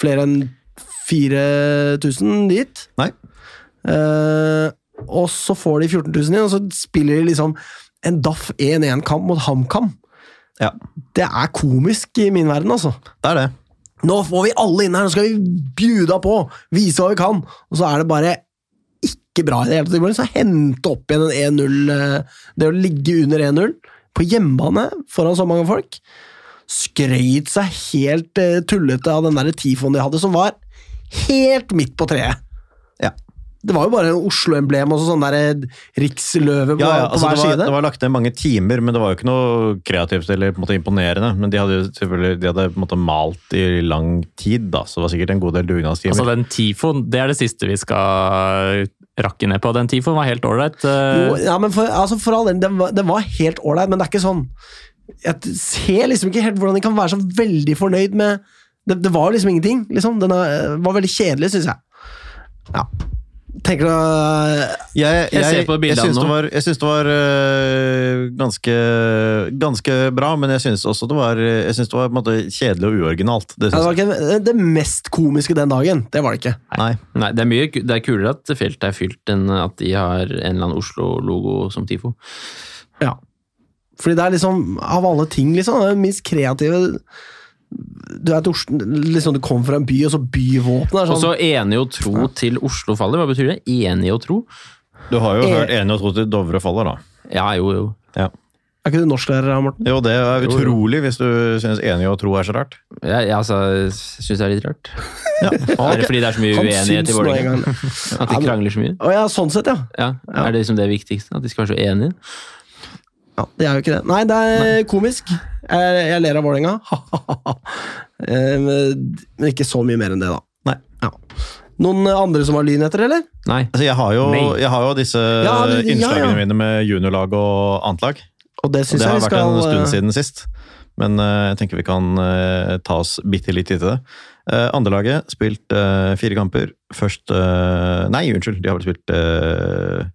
A: flere enn 4000 dit.
C: Nei.
A: Eh, og så får de 14 000 igjen, og så spiller de liksom en DAF 1-1-kamp mot HamKam.
C: Ja,
A: Det er komisk i min verden, altså.
C: det er det.
A: Nå får vi alle inn her, nå skal vi bjuda på! Vise hva vi kan! Og så er det bare ikke bra i det hele tatt. De må liksom hente opp igjen en 1-0 eh, Det å ligge under 1-0 på hjemmebane foran så mange folk Skrøyt seg helt eh, tullete av den der tifoen de hadde, som var helt midt på treet.
C: Ja.
A: Det var jo bare Oslo-emblem og så sånn der eh, riksløve på,
C: Ja, ja,
A: på
C: altså det,
A: hver
C: var,
A: side.
C: det var lagt ned mange timer, men det var jo ikke noe kreativt eller på en måte imponerende. Men de hadde jo selvfølgelig de hadde på en måte malt i lang tid, da, så det var sikkert en god del dugnadstimer.
D: Altså, den tifoen, det er det siste vi skal rakke ned på. Den tifoen var helt ålreit. eh,
A: Jo, ja, men for, altså for all del, den var, den var helt ålreit, men det er ikke sånn Jeg t- ser liksom ikke helt hvordan de kan være så veldig fornøyd med Det, det var liksom ingenting, liksom. Den er, var veldig kjedelig, syns jeg. Ja. Tenker eh, du
C: jeg,
B: Jeg ser på bildene
C: jeg syns
B: nå.
C: det var, jeg syns det var øh, ganske, ganske bra, men jeg syns også det var, jeg syns det var på en måte, kjedelig og uoriginalt. Det
A: ja, Det
C: syns
A: var ikke det mest komiske den dagen. Det var det ikke.
C: jeg. Nei.
B: Nei, det er, mye, ku- det er kulere at feltet er fylt enn at de har en eller annen Oslo-logo som TIFO.
A: Ja. Fordi det er liksom, av alle ting, liksom, det er minst kreative Du er et Oslo, liksom, du kommer fra en by, og så byvåpenet er
B: Og
A: sånn
B: så enig og tro til Oslo faller. Hva betyr det? Enig og tro?
C: Du har jo
A: Eh.
C: hørt enig og tro til Dovre faller, da.
B: Ja, jo, jo.
A: Er ikke du norsklærer, Morten?
C: Jo, det er
B: Jo, jo.
C: utrolig hvis du syns enig og tro er så rart.
B: Jeg, jeg altså, syns det er litt rart.
C: Ja.
B: Er det fordi det er så mye
A: Han
B: uenighet i
A: syns nå en
B: Vålerenga?
A: gang.
B: At de krangler så mye?
A: Å ja, sånn sett, ja.
B: Ja.
A: Ja.
B: Er det liksom det viktigste? At de skal være så enige?
A: Ja, det er jo ikke det. Nei, det er komisk. Jeg, jeg ler av Vålerenga. Eh, men men ikke så mye mer enn det, da.
C: Nei.
A: Ja. Noen andre som har lyn etter, eller?
B: Nei.
C: Altså, jeg, har jo,
B: Nei.
C: jeg har jo disse
A: Ja, det- ja, ja.
C: innslagene mine med juniorlag og annet lag.
A: Og det
C: Og
A: syns
C: det
A: jeg
C: har
A: vi
C: vært
A: skal
C: en stund
A: eh,
C: siden sist. Men eh, jeg tenker vi kan eh, ta oss bitte litt til det. Uh, Andrelaget spilt eh, fire kamper. Først eh, Nei, unnskyld, de har vel spilt eh,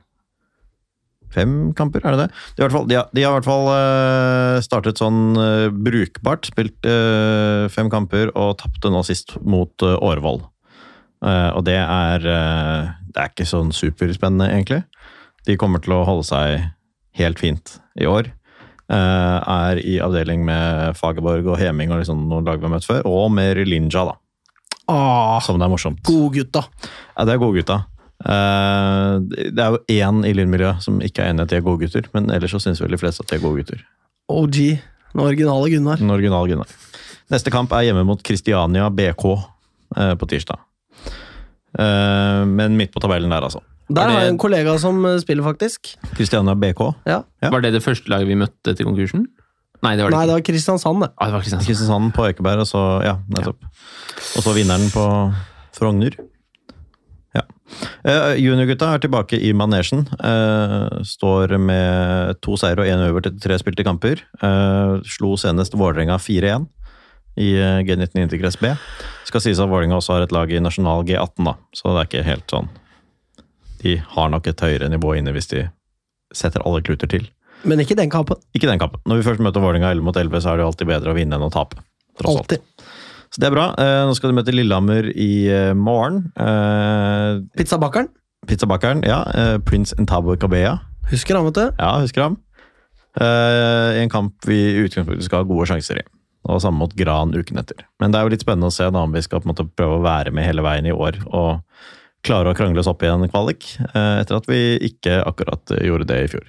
C: fem kamper, er det det? De, har i hvert fall, de, har, de har i hvert fall eh, startet sånn eh, brukbart. Spilt eh, fem kamper og tapte nå sist mot eh, Årvoll. Eh, og det er eh, Det er ikke sånn superspennende, egentlig. De kommer til å holde seg helt fint i år. Eh, er i avdeling med Fagerborg og Heming og liksom noen lag vi har møtt før. Og med Linja, da,
A: Ah,
C: som det er morsomt.
A: Godgutta.
C: Ja, det er gode gutta. Eh, det er jo én i Lyn-miljøet som ikke er enig i at de er gode gutter, men ellers så syns vel de fleste at de er gode gutter.
A: OG. Den originale Gunnar.
C: Den originale Gunnar. Neste kamp er hjemme mot Kristiania BK eh, på tirsdag. Eh, men midt på tabellen der, altså.
A: Der
B: det-
A: har jeg en kollega som eh, spiller, faktisk.
C: Kristiania BK.
A: Ja.
C: Ja.
B: Var det det første laget vi møtte etter konkursen? Nei, det var det
A: Nei,
B: ikke.
A: det var Kristiansand, det.
B: Ah, det var Kristiansand.
C: Kristiansand på Ekeberg, og så ja, nettopp. Og så vinneren på Frogner. Ja. Eh, Juniorgutta er tilbake i manesjen. Eh, står med to seier og én over til tre spilte kamper. Eh, slo senest Vålerenga 4-1 i eh, G19 Intergress B. Skal sies at Vålerenga også har et lag i nasjonal G18, da, så det er ikke helt sånn De har nok et høyere nivå inne hvis de setter alle kluter til.
A: Men ikke den kampen.
C: Ikke den kampen. Når vi først møter Vålerenga 11 mot 11, så er det jo alltid bedre å vinne enn å tape. tross alt.
A: Alltid.
C: Så det er bra. Eh, Nå skal de møte Lillehammer i eh, morgen. Eh,
A: Pizzabakeren.
C: Pizzabakeren, ja. eh, Prince Entabo Kabea.
A: Husker han, vet du.
C: Ja, husker ham. Eh, I en kamp vi i utgangspunktet skal ha gode sjanser i. Og samme mot Gran uken etter. Men det er jo litt spennende å se da om vi skal på en måte prøve å være med hele veien i år og klare å krangle oss opp i en kvalik, eh, etter at vi ikke akkurat eh, gjorde det i fjor.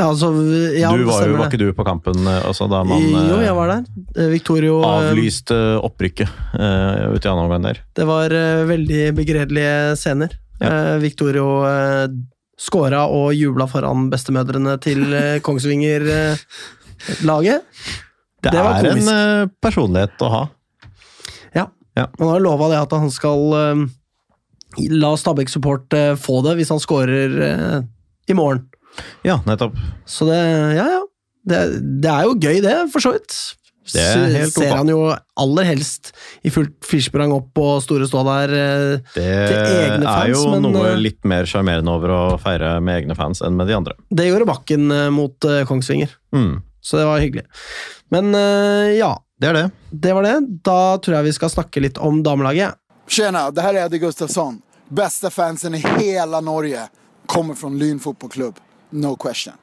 A: Ja, altså, ja,
C: du
A: det
C: var jo
A: stemmer
C: var
A: det.
C: ikke du på kampen eh, også, da man
A: Jo,
C: eh,
A: jeg var der. Eh, Victorio eh,
C: avlyste opprykket eh, ute i andre omgang der.
A: Det var eh, veldig begredelige scener. Eh, Victorio uh, skåra og jubla foran bestemødrene til eh, Kongsvinger-laget.
C: Det,
A: Det var
C: er
A: komisk.
C: en eh, personlighet å ha.
A: Han har lova det at han skal eh, la Stabæk Support eh, få det hvis han skårer eh, i morgen.
C: Ja, nettopp.
A: Så det Ja, ja. Det, det er jo gøy, det, for så vidt.
C: Det er
A: Så
C: helt ok.
A: Ser han jo aller helst i fullt firsprang opp på store stå der. eh,
C: Det
A: egne fans,
C: er jo
A: men,
C: noe
A: eh,
C: litt mer sjarmerende over å feire med egne fans enn med de andre.
A: Det gjorde Bakken eh, mot eh, Kongsvinger,
C: Mm.
A: så det var hyggelig. Men eh, ja,
C: Det er det.
A: det var det. Da tror jeg vi skal snakke litt om damelaget.
F: Tjena, det här är Eddie Gustafsson. Bästa fansen i hela Norge. Kommer från Lyn fotbollsklubb. No question.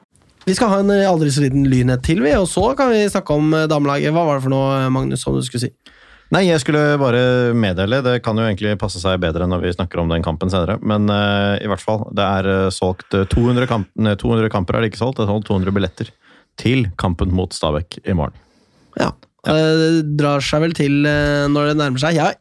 A: Vi skal ha en eh, aldri så liten lynhet til, vi, og så kan vi snakke om eh, damelaget. Hva var det for noe, eh, Magnus, som du skulle si?
C: Nei, jeg skulle bare meddele. Det kan jo egentlig passe seg bedre når vi snakker om den kampen senere. Men eh, i hvert fall, det er eh, solgt eh, 200, kamp nei, 200 kamper er det ikke solgt. Det er solgt 200 billetter til kampen mot Stabæk i morgen.
A: Ja. Eh, Det drar seg vel til eh, når det nærmer seg. Jeg har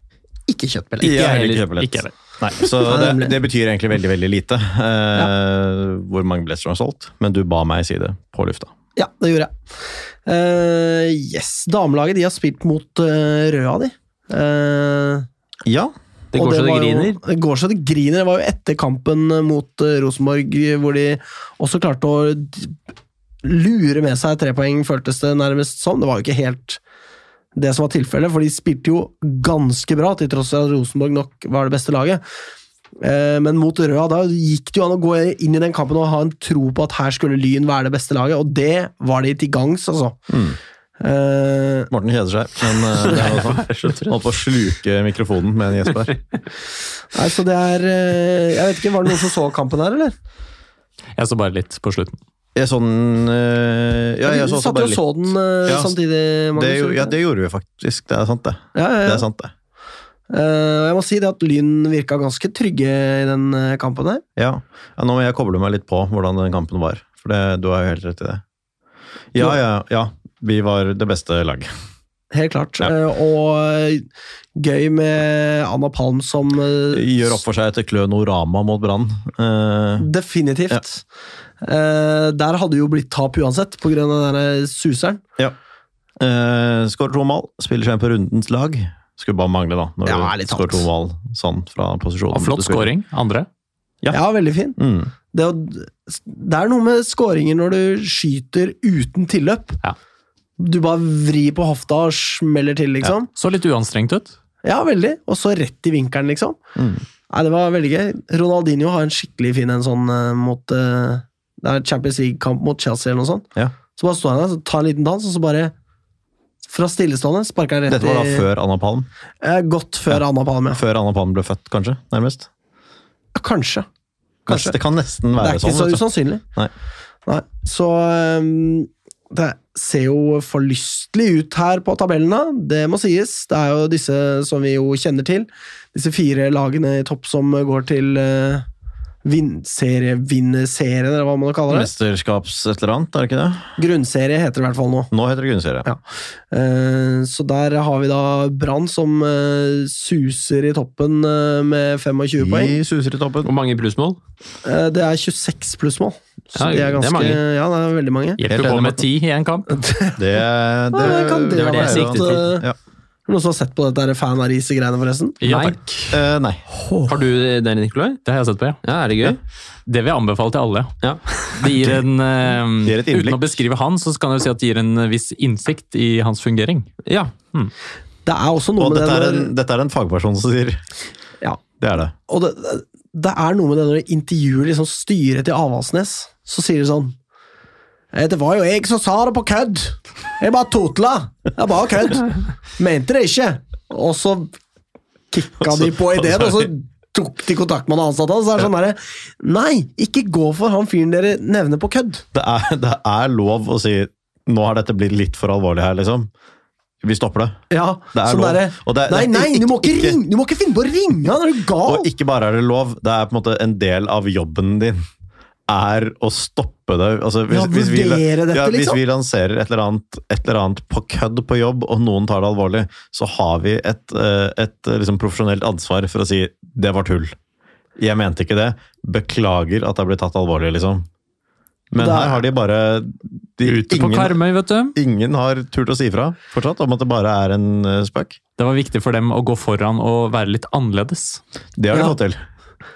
A: ikke kjøttbillett.
C: Jeg har
B: heller.
C: ikke kjøpebillett.
B: Ikke heller.
C: Nei, så det,
A: nemlig.
C: det betyr egentlig veldig, veldig lite eh, hvor mange billetter som er solgt. Men du ba meg si det på lufta.
A: Ja, det gjorde jeg. Eh, yes. Damelaget de har spilt mot eh, Røa, de. Eh,
C: Ja,
B: Det
A: og
B: går så det
A: var jo-
B: griner.
A: Det går så det griner. Det var jo etter kampen mot eh, Rosenborg eh, hvor de også klarte å d- lure med seg tre poeng, føltes det nærmest som. Det var jo ikke helt det som var tilfellet, for de spilte jo ganske bra, til tross for at Rosenborg nok var det beste laget. Eh, Men mot Røa da gikk det jo an å gå inn i den kampen og ha en tro på at her skulle Lyn være det beste laget, og det var de til gangs, altså.
B: Mm.
A: Eh,
C: Morten kjeder seg, men eh, det er noe sånt. Holdt på å sluke mikrofonen med en gjesp her.
A: nei, så det er eh, Jeg vet ikke, var det noen som så kampen her, eller?
D: Jeg så bare litt på slutten.
C: Jeg så den eh, Ja,
A: vi
C: jeg så også
A: satt jo
C: bare
A: og
C: litt.
A: så den eh,
C: Ja,
A: samtidig.
C: Det,
A: Magnus,
C: gjo-
A: gjorde vi
C: ja,
A: ikke
C: det gjorde vi faktisk. Det er sant, det.
A: Ja, ja,
C: Det
A: ja.
C: er sant, det.
A: Eh, jeg må si det at Lyn virka ganske trygge i den eh, kampen her.
C: Ja. ja, nå må jeg koble meg litt på hvordan den kampen var. For det, du har jo helt rett i det. Ja, ja, ja. Vi var det beste laget.
A: Helt klart.
C: Ja.
A: Eh, og gøy med Anna Palm som eh,
C: Gjør opp for seg etter Klø Norama mot Brann. Eh,
A: Definitivt. Eh, der hadde det jo blitt tap uansett, pga. den der suseren.
C: eh, Skårer to mål, spiller seg inn på rundens lag. Skulle bare mangle, da, når
A: Ja,
C: du
A: litt sant.
C: skårer to mål sånn fra posisjonen.
D: Og flott
C: du spiller.
D: scoring. Andre.
C: Ja.
A: Ja, veldig fin.
C: Mm.
A: Det, å- det er noe med skåringer når du skyter uten tilløp.
D: Ja.
A: Du bare vrir på hofta og smeller til, liksom.
D: Så litt uanstrengt ut.
A: Ja, veldig. Og så rett i vinkelen, liksom.
C: Mm.
A: Nei, Det var veldig gøy. Ronaldinho har en skikkelig fin en sånn eh, mot eh, Det er Champions League-kamp mot Chelsea eller noe sånt.
C: Ja.
A: Så bare står han der, så tar en liten dans, og så bare Fra stillestående sparker han rett
C: Dette var da
A: i
C: før Anna Palm.
A: Eh, Godt før Anna Palm, ja.
C: Før Anna Palm ble født, kanskje? Nærmest.
A: Kanskje. Kanskje.
C: Kanskje. Det kan nesten
A: Det
C: være
A: er ikke
C: sånn.
A: så
C: vet du.
A: usannsynlig.
C: Nei.
A: Nei. Så ehm, det ser jo forlystelig ut her på tabellene, det må sies. Det er jo disse som vi jo kjenner til. Disse fire lagene i topp som går til uh, vinnerserien, eller hva man kaller det.
C: Mesterskaps et eller annet, er det ikke det?
A: Grunnserie heter det i hvert fall nå.
C: Nå heter det grunnserie.
A: Ja. Eh, Så der har vi da Brann som eh, suser i toppen eh, med 25 poeng.
C: Vi suser i toppen.
B: Hvor mange plussmål?
A: Eh, Det er 26 plussmål. Så
B: Ja,
A: det er
B: det er
A: ganske
B: mange.
A: Ja, det er veldig mange.
C: Helt
D: Hjelper
C: enig,
D: på med
C: Morten.
D: ti i en kamp.
C: Det, det,
A: det kan det
C: var
A: være eh,
C: jeg
A: siktig
C: var-
A: til.
C: Ja.
A: Noen som har sett på dette her fan av greiene forresten?
D: Ja,
B: Nei.
D: takk.
C: Eh, nei.
B: Har du det, Nikolai?
D: Det har jeg sett på, ja.
B: Ja, er det gøy?
D: Det vil jeg anbefale til alle.
B: Ja.
D: Det gir en, eh,
C: Det gir et innblikk.
D: Uten å beskrive han, så kan jeg jo si at det gir en viss innsikt i hans fungering.
B: ja.
A: Det er også noe
C: Og
A: med
C: dette er,
A: det
C: en,
A: når,
C: dette er en fagperson som sier
A: ja,
C: Det er det.
A: og det, det er noe med det når de intervjuer liksom styret til Avaldsnes, så sier de sånn «Eh, Det var jo jeg som sa det på kødd! Jeg bare totla! Jeg bare kødd! Mente det ikke! Og så kicka de på ideen, og så tok til kontakt med han ansatte hans. Så er det sånn der, Nei, ikke gå for han fyren dere nevner på kødd.
C: Det er, det er lov å si nå har dette blitt litt for alvorlig her, liksom. Vi stopper det.
A: Ja,
C: Det er
A: sånn
C: lov.
A: derre,
C: Og det-
A: Nei,
C: det-
A: nei, du må ikke,
C: ikke-
A: ringe, du må ikke finne på å ringe han! Er du gal?
C: Og ikke bare er det lov, det er på en måte en del av jobben din. Er å stoppe det. Altså, hvis,
A: Ja,
C: hvis, vi,
A: vurdere dette,
C: ja, hvis
A: liksom.
C: vi lanserer et eller, annet, et eller annet på kødd på jobb, og noen tar det alvorlig, så har vi et, eh, et eh, liksom, profesjonelt ansvar for å si 'det var tull'. Jeg mente ikke det. Beklager at jeg ble tatt alvorlig, liksom. Men
A: Det er-
C: her har de bare de,
D: Ute på
C: ingen,
D: Karmøy, vet du.
C: ingen har turt å si ifra fortsatt om at det bare er en eh, spøk.
D: Det var viktig for dem å gå foran og være litt annerledes.
C: Det har de
A: Ja.
C: fått til.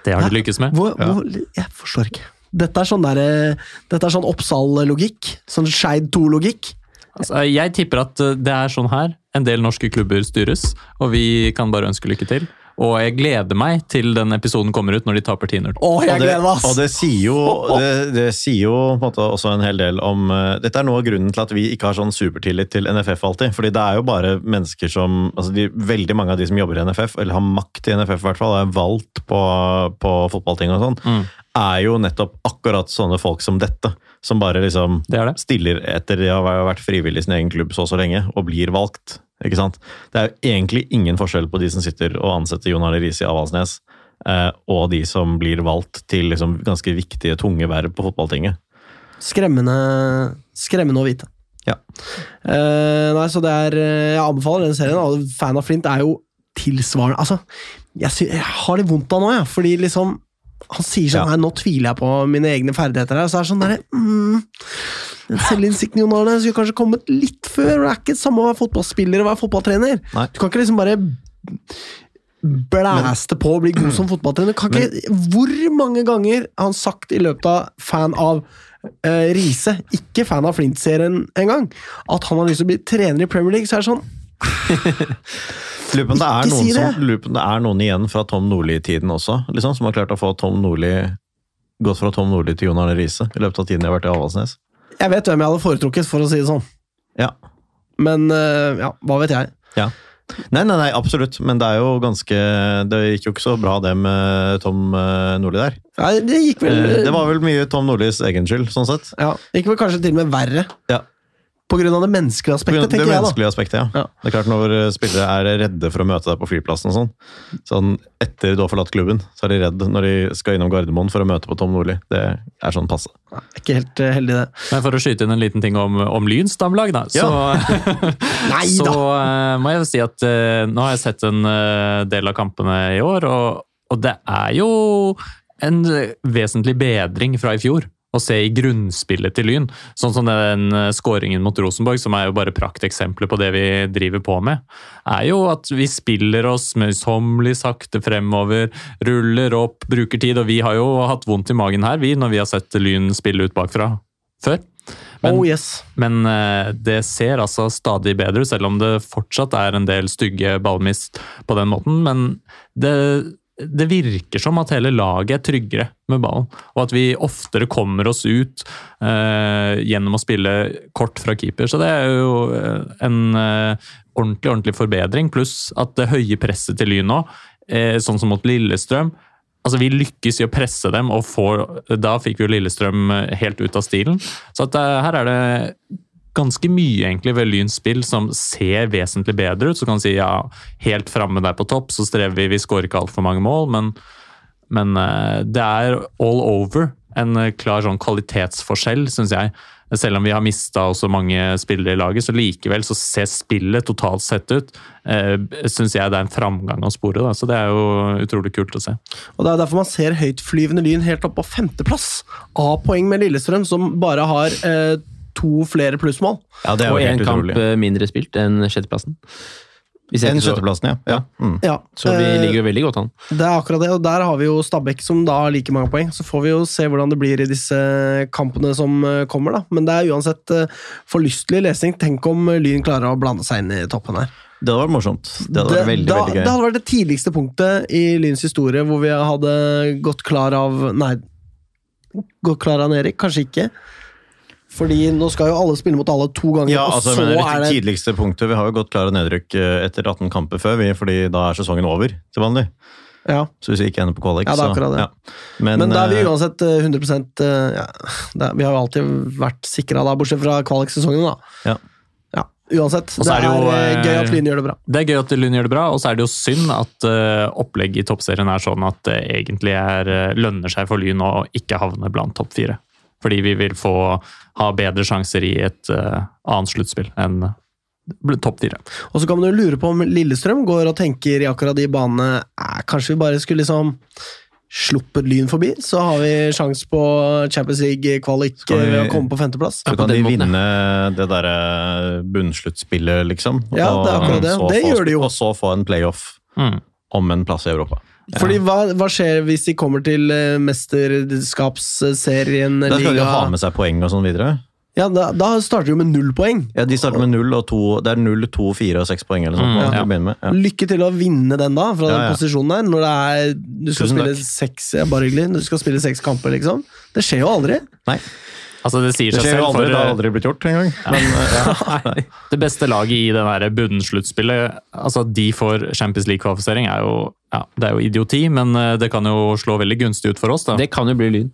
D: Det har de lykkes med.
A: Hvor, hvor, jeg forstår ikke. Dette er sånn, der, eh, dette er sånn Oppsal-logikk. Sånn Skeid 2-logikk.
D: Altså, jeg tipper at eh, det er sånn her en del norske klubber styres, og vi kan bare ønske lykke til. Og jeg gleder meg til den episoden kommer ut når de taper 10-0.
A: Å, jeg
C: Og det,
A: gleder meg,
C: og
A: ass!
C: det sier jo, det, det sier jo på en måte også en hel del om eh, Dette er noe av grunnen til at vi ikke har sånn supertillit til NFF alltid. fordi det er jo bare mennesker som altså de, Veldig mange av de som jobber i NFF, eller har makt i NFF i hvert fall, er valgt på, på fotballting og sånn, er jo nettopp akkurat sånne folk som dette. Som bare liksom
D: Det er det.
C: stiller etter de har vært frivillig i sin egen klubb så og så lenge, og blir valgt. Ikke sant? Det er jo egentlig ingen forskjell på de som sitter og ansetter Jon Arne Riise i Avaldsnes, eh, og de som blir valgt til liksom, ganske viktige, tunge verv på fotballtinget.
A: Skremmende, skremmende å vite.
C: Ja.
A: Eh, nei, så det er eh, Jeg anbefaler den serien. Og fan av Flint er jo tilsvarende Altså, jeg, sy jeg har litt vondt av nå, jeg. Fordi liksom han sier sånn
C: Ja.
A: Nei, nå tviler jeg på mine egne ferdigheter her. Så er det sånn derre mm, den Selvinnsikten, Jon Arne, skulle kanskje kommet litt før. og Det er ikke samme å være fotballspiller og være fotballtrener.
C: Nei.
A: Du kan ikke liksom bare blæste på å bli god som fotballtrener. Kan ikke, hvor mange ganger har han sagt i løpet av fan av eh, Riise, ikke fan av Flint-serien engang, at han har lyst til å bli trener i Premier League, så er det sånn
C: Lurer på om det er
A: Ikke
C: noen
A: si det!
C: som- lurer på om det er noen igjen fra Tom Nordli-tiden også, liksom, som har klart å få Tom Nordli Gått fra Tom Nordli til Jon Arne Riise i løpet av tiden jeg har vært i Avaldsnes.
A: Jeg vet hvem jeg hadde foretrukket, for å si det sånn.
C: Ja.
A: Men eh, ja, hva vet jeg.
C: Ja. Nei, nei, nei, absolutt, men det er jo ganske Det gikk jo ikke så bra, det med Tom eh, Nordli der.
A: Nei, det gikk vel
C: Eh, Det var vel mye Tom Nordlis egen skyld, sånn sett.
A: ja, det gikk vel kanskje til og med verre.
C: Ja.
A: På grunn av det menneskelige
C: På grunn
A: aspektet,
C: av Det
A: tenker jeg da.
C: menneskelige aspektet, ja.
A: Ja.
C: Det er klart Når spillere er redde for å møte deg på flyplassen og sånn, sånn etter du har forlatt klubben, så er de redd når de skal innom Gardermoen for å møte på Tom Nordli. Det er sånn passe.
A: Nei, Ikke helt eh, heldig, det.
D: Men for å skyte inn en liten ting om, om Lyns damlag, da, så,
A: Nei
D: så
A: da!
D: eh, må jeg jo si at eh, nå har jeg sett en eh, del av kampene i år, og, og det er jo en eh, vesentlig bedring fra i fjor. Å se i grunnspillet til Lyn, sånn som den eh, skåringen mot Rosenborg, som er jo bare prakteksempler på det vi driver på med, er jo at vi spiller oss møysommelig sakte fremover, ruller opp, bruker tid, og vi har jo hatt vondt i magen her, vi, når vi har sett Lyn spille ut bakfra før. Men-
A: oh yes.
D: Men eh, det ser altså stadig bedre ut, selv om det fortsatt er en del stygge ballmist på den måten. Men det, det virker som at hele laget er tryggere med ballen, og at vi oftere kommer oss ut eh, gjennom å spille kort fra keeper. Så det er jo eh, en eh, ordentlig, ordentlig forbedring, pluss at det høye presset til Lyn nå, eh, sånn som mot Lillestrøm, Altså, Vi lykkes i å presse dem, og får, da fikk vi jo Lillestrøm eh, helt ut av stilen. Så at, eh, her er det ganske mye egentlig ved Lyns spill som ser vesentlig bedre ut. Så kan du si ja, helt framme der på topp, så strever vi, vi skårer ikke altfor mange mål. Men, men eh, det er all over en eh, klar sånn kvalitetsforskjell, syns jeg. Selv om vi har mista også mange spillere i laget, så likevel så ser spillet totalt sett ut. Eh, syns jeg det er en framgang å spore, da. så det er jo utrolig kult å se.
A: Og Det er derfor man ser høytflyvende Lyn helt opp på femteplass. A-poeng med Lillestrøm, som bare har eh, to flere plussmål.
C: Ja, det er
B: Og
C: jo
B: én
C: helt
B: kamp
C: utrolig.
B: eh, mindre spilt enn sjetteplassen. Vi ser
C: Den
B: ikke så-
C: sjetteplassen, ja. ja. Mm.
A: eh, Ja,
B: Så vi
A: eh,
B: ligger jo veldig godt an.
A: Det er akkurat det, og der har vi jo Stabæk som da har like mange poeng. Så får vi jo se hvordan det blir i disse kampene som eh, kommer, da. Men det er uansett eh, forlystelig lesning. Tenk om eh, Lyn klarer å blande seg inn i toppen her.
C: Det hadde vært morsomt. Det hadde vært veldig,
A: da,
C: veldig gøy.
A: det hadde vært det tidligste punktet i Lyns historie hvor vi hadde gått klar av Nei, gått klar av Erik, kanskje ikke. Fordi nå skal jo alle spille mot alle to ganger,
C: Ja, altså,
A: og så
C: men det
A: er det
C: tidligste punktet Vi har jo gått klare nedrykk eh, etter 18 kamper før, vi, fordi da er sesongen over til vanlig.
A: Ja.
C: Så hvis vi ikke ender på kvalik,
A: Ja, det er akkurat det.
C: så ja. Men,
A: Men da er vi
C: eh,
A: uansett eh, 100 eh, ja, det, er- Vi har jo alltid vært sikra da, bortsett fra kvaliksesongen, da.
C: eh, Ja.
A: Ja, uansett.
D: Og
A: Det
D: så er
A: er,
D: det jo,
A: eh, gøy at
D: eh,
A: Lyn gjør det bra.
D: Det er gøy at Lund gjør det bra, og så er det jo synd at eh, opplegget i toppserien er sånn at det egentlig er, eh, lønner seg for Lyn å ikke havne blant topp fire. Fordi vi vil få ha bedre sjanser i et eh, annet sluttspill enn bl- topp fire.
A: Og så kan man jo lure på om Lillestrøm går og tenker i akkurat de banene eh, Kanskje vi bare skulle liksom sluppet Lyn forbi, så har vi sjanse på Champions League-kvalik
C: Skal vi-
A: ved å komme på femteplass.
C: Så
B: på
C: kan de
B: den måten, ja.
C: vinne det derre bunnsluttspillet, liksom.
A: Ja, det er akkurat det.
C: så
A: Det
C: få-
A: gjør de jo.
C: Og så få en playoff
D: Mm.
C: om en plass i Europa.
A: Fordi hva, hva skjer hvis de kommer til eh, mesterskapsserien?
C: Da skal de jo
A: liga?
C: ha med seg poeng og sånn videre.
A: Ja, da, da starter de jo med null poeng.
C: Ja, De starter med null og to Det er null, to, fire og seks poeng eller sånt.
D: Mm,
C: nå, til
D: ja.
C: å begynne med. Ja.
A: Lykke til å vinne den, da, fra
C: Ja, ja.
A: den posisjonen der. Når det er, du skal
C: Tusen
A: spille
C: takk.
A: seks ja, bare hyggelig, du skal spille seks kamper, liksom. Det skjer jo aldri.
C: Nei,
D: Altså, det sier
C: det
D: seg
C: skjer jo
D: selv
C: aldri.
D: for eh,
C: Det har aldri blitt gjort engang. Men eh, ja.
D: Nei. Det beste laget i det der bunnsluttspillet, altså at de får Champions League-kvalifisering, er jo ja, det er jo idioti, men eh, det kan jo slå veldig gunstig ut for oss. Da. Det,
B: Det kan jo bli Lyn.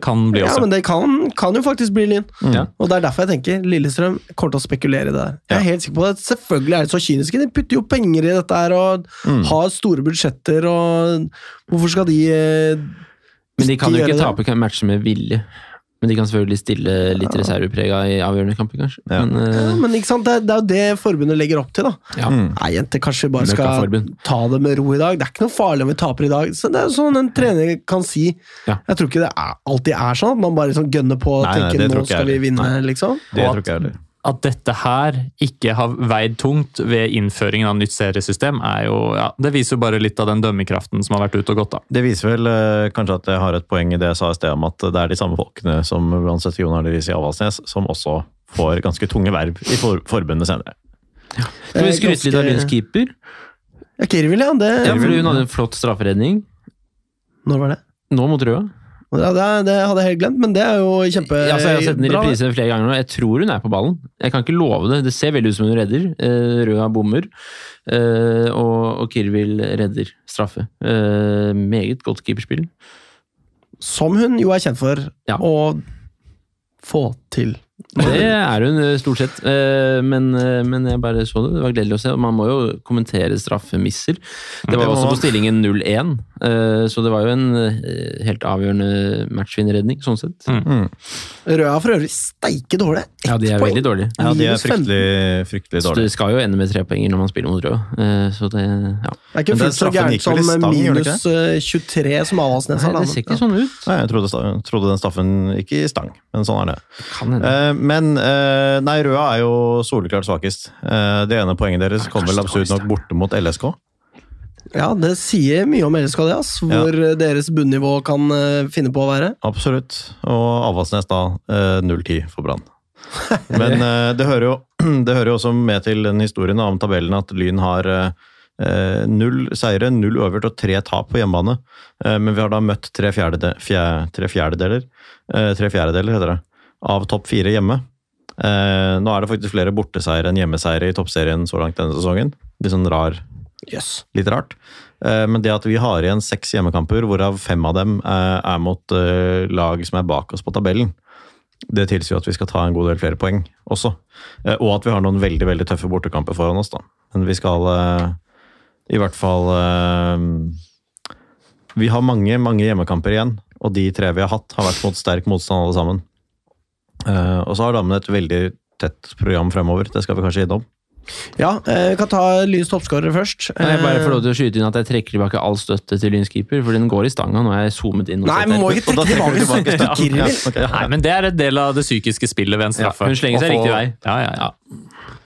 D: kan bli
A: Ja,
D: også.
A: Men det kan, kan jo faktisk bli Lyn.
C: Mm.
B: Ja.
A: Og det er derfor jeg tenker Lillestrøm kommer til å spekulere i det der. Jeg er helt sikker på det. Selvfølgelig er de så kyniske. De putter jo penger i dette her og
C: Mm.
A: har store budsjetter og Hvorfor skal de eh,
B: Men de kan jo
A: gjøre
B: ikke
A: det?
B: tape matcher med vilje. Men de kan selvfølgelig stille litt reserveprega i avgjørende kamper, kanskje.
C: Ja.
B: Men, eh,
A: ja, Men ikke sant? Det, er- det er jo det forbundet legger opp til, da.
B: ja.
A: Nei, jenter, kanskje vi bare skal
B: Møkkaforbund.
A: ta det med ro i dag. Det er ikke noe farlig om vi taper i dag. Så Det er jo sånn en trener kan si.
B: Ja.
A: Jeg tror ikke det er, alltid er sånn at man bare liksom gønner på og
C: Nei, nei,
A: tenker
C: det tror
A: nå
C: ikke jeg
A: skal vi
C: heller.
A: vinne, liksom.
C: Det
D: Og
C: tror ikke jeg heller.
D: at dette her ikke har veid tungt ved innføringen av nytt seriesystem, er jo, ja, det viser jo bare litt av den dømmekraften som har vært ute og gått. da.
C: Det viser vel eh, kanskje at jeg har et poeng i det jeg sa i sted om at det er de samme folkene som uansett Jon Arne Riise i Avaldsnes, som også får ganske tunge verv i for forbundet senere.
B: Skal vi
A: Eh,
B: skryte litt av
A: ganske-
B: Lyns keeper?
A: Ja, Kirvil, ja. Det,
B: Ja, fordi hun hadde en flott strafferedning.
A: Når var det?
B: Nå mot Røa.
A: Ja, det, det hadde jeg helt glemt, men det er jo kjempebra.
B: Ja, altså, jeg har sett den i reprise flere ganger nå. Jeg tror hun er på ballen. Jeg kan ikke love det. Det ser veldig ut som hun redder. Eh, Røa bommer, eh, og, og Kirvil redder straffe. Eh, meget godt keeperspill.
A: Som hun jo er kjent for
B: Ja.
A: å få til.
B: Det er hun eh, stort sett, Eh, men, eh, men jeg bare så det. Det var gledelig å se. Og Man må jo kommentere straffemisser. Det
C: Det
B: var
C: må
B: også
C: man.
B: på stillingen 0-1, eh, så det var jo en eh, helt avgjørende matchvinnerredning, sånn sett.
D: Mm.
A: Røa er for øvrig steike dårlig. Ett
B: Ja, de er
A: poeng.
B: veldig dårlige.
C: Ja, de er
A: Minus fem.
C: fryktelig, fryktelig
B: Så
C: dårlige.
B: det skal jo ende med trepoenger når man spiller mot Røa, eh, så det ja.
A: Det er ikke
C: Men den
A: fullt så
C: straffen
A: gærent
C: gikk vel
A: som
C: i stang, gjorde det
A: minus eh, 23 som Avaldsnes har.
B: Nei,
A: da, men-
B: det ser ikke sånn ut.
C: Nei, jeg trodde, sta- trodde den staffen gikk i stang, men sånn er det.
B: Kan hende.
C: Eh, men eh, nei, Røa er jo soleklart svakest. Eh, det ene poenget deres kom vel absolutt nok borte mot LSK.
A: Ja, det sier mye om LSK, det, ass. Hvor eh, deres bunnivå kan eh, finne på å være.
C: Absolutt. Og Avaldsnes da eh, 0-10 for Brann. Men eh, det, hører jo, det hører jo også med til den historien da, om tabellen at Lyn har eh, eh, null seire, null øvert og tre tap på hjemmebane. Eh, men vi har da møtt tre, fjerdede, fjer, tre fjerdedeler eh, Tre fjerdedeler, heter det. Av topp fire hjemme. Eh, nå er det faktisk flere borteseiere enn hjemmeseiere i toppserien så langt denne sesongen. Litt sånn rar Litt rart. Eh, Men det at vi har igjen seks hjemmekamper, hvorav fem av dem eh, er mot eh, lag som er bak oss på tabellen, det tilsier jo at vi skal ta en god del flere poeng også. Eh, Og at vi har noen veldig veldig tøffe bortekamper foran oss, da. Men vi skal eh, i hvert fall eh, Vi har mange, mange hjemmekamper igjen, og de tre vi har hatt, har vært mot sterk motstand alle sammen. Eh, Og så har damene et veldig tett program fremover, det skal vi kanskje innom.
A: Ja, eh, vi kan ta Lyns toppskårere først.
B: Kan jeg bare
A: Eh,
B: få lov til å skyte inn at jeg trekker tilbake all støtte til Lyns keeper, for den går i stanga. Nå er jeg zoomet inn. og
A: Nei,
B: sett
A: men må
B: her.
A: ikke trekke
C: trekker
A: tilbake
C: du tilbake
A: støtten.
C: Ja,
A: Kirvil.
C: ok.
D: Nei, men det er en del av det psykiske spillet ved en straffe.
B: Ja, hun slenger seg
D: Å få-
B: riktig vei.
D: Ja, ja, ja.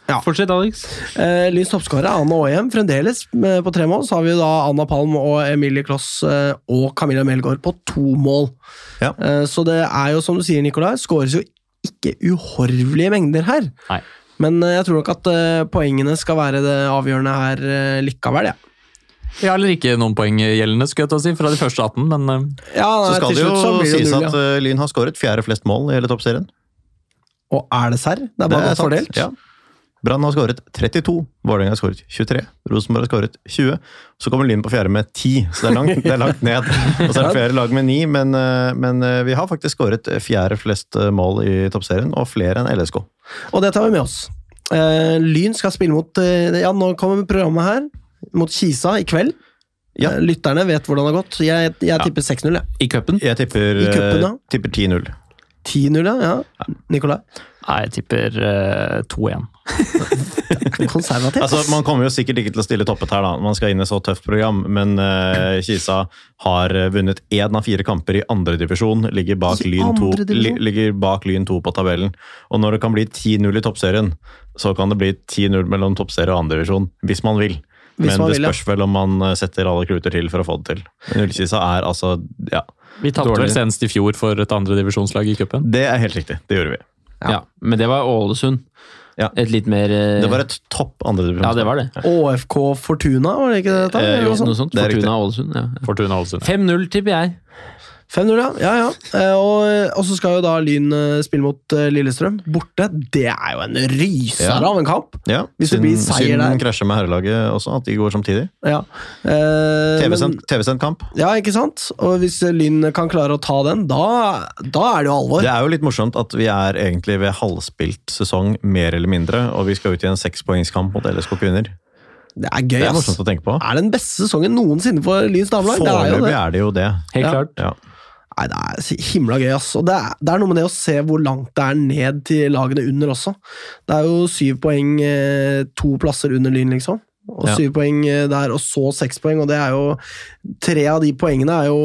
A: Ja.
B: Fortsett, Alex.
A: Eh, Lyns toppskårere er Anne Aajem fremdeles eh, på tre mål. Så har vi da Anna Palm og Emilie Kloss eh, og Camilla Melgaard på to mål.
C: Ja.
A: Eh, Så det er jo som du sier, Nikolai, skåres jo ikke uhorvelige mengder her.
D: Nei.
A: Men eh, jeg tror nok at eh, poengene skal være det avgjørende her eh, likevel, ja.
D: ja, eller ikke noen poeng gjeldende, skulle jeg til å si, fra de første 18, men eh,
A: ja
C: Så
A: nei,
C: skal
A: til
C: det jo
A: slutt blir
C: sies
A: null,
C: at
A: ja.
C: eh, Lyn har skåret fjerde flest mål i hele toppserien.
A: Og er det serr? Det er bare
C: Det er
A: godt
C: sant,
A: fordelt.
C: ja. Brann har skåret 32, Vålerenga har skåret 23, Rosenborg har skåret 20. Så kommer Lyn på fjerde med 10, så det er langt, det er langt ned. Og så er det flere lag med 9, men, eh, men eh, vi har faktisk skåret fjerde flest eh, mål i toppserien, og flere enn LSK.
A: Og det tar vi med oss. Eh, Lyn skal spille mot eh, Ja, nå kommer programmet her. Mot Kisa i kveld.
C: Ja.
A: Eh, Lytterne vet hvordan det har gått. Jeg, jeg tipper 6-0. jeg.
B: I cupen.
C: Jeg tipper,
A: I cupen, da?
C: eh, tipper 10-0.
A: 10-0, ja. ja. Nikolai.
D: Nei, jeg tipper eh, 2-1.
A: Konservativ.
C: Altså, man kommer jo sikkert ikke til å stille toppet her, da. Man skal inn i så tøft program, men eh, Kisa har eh, vunnet én av fire kamper i andredivisjon. Ligger, bak
A: I
C: Lyn to-
A: andre
C: li,
A: divisjon?
C: ligger bak Lyn 2 på tabellen. Og når det kan bli 10-0 i toppserien, så kan det bli 10-0 mellom toppserie og andredivisjon, hvis man vil.
A: Hvis
C: men
A: man
C: det
A: vil, ja.
C: spørs vel om man eh, setter alle kluter til for å få det til. Nullkisa er altså Ja,
D: Vi tapte
B: Dårlig.
D: vel senest i fjor for et andredivisjonslag i cupen.
C: det er helt riktig. Det gjorde vi.
B: Ja. Men det var Ålesund.
C: Ja.
B: Et litt mer eh,
C: Det var et topp andredivisjon.
B: Ja, det var det.
A: ÅFK Fortuna, var sånn. det ikke det? dette?
C: Eh,
A: Eller
C: jo,
A: noe sånt?
B: Noe sånt.
C: Det er riktig.
B: Fortuna Ålesund. Ja. ja.
D: Fortuna Ålesund.
B: 5-0, tipper jeg.
A: 5-0, ja. ja, ja. Eh, Og, og så skal jo da Lyn eh, spille mot eh, Lillestrøm. Borte. Det er jo en ryser
C: Ja.
A: av en kamp!
C: Ja,
A: Hvis det
C: synd-
A: blir seier
C: Synden
A: der.
C: krasjer med herrelaget også, at de går samtidig.
A: Ja. Eh, men-
C: TV-sendt TV kamp.
A: Ja, ikke sant? Og hvis eh, Lyn kan klare å ta den, da, da er det jo alvor.
C: Det er jo litt morsomt at vi er egentlig ved halvspilt sesong, mer eller mindre, og vi skal ut i en sekspoengskamp mot LSK kvinner.
A: Det er gøy,
C: Det er
A: ass.
C: morsomt å tenke på.
A: Det er den beste sesongen noensinne for Lyns damelag. Det er jo
C: Foreløpig
A: det.
C: er det jo det.
D: Helt
A: Ja.
D: klart.
C: Ja.
A: Nei, det er si- himla gøy, ass. Og det er, det er noe med det å se hvor langt det er ned til lagene under også. Det er jo syv poeng, eh, to plasser under Lyn, liksom. Og
C: Ja.
A: syv poeng eh, der, og så seks poeng, og det er jo Tre av de poengene er jo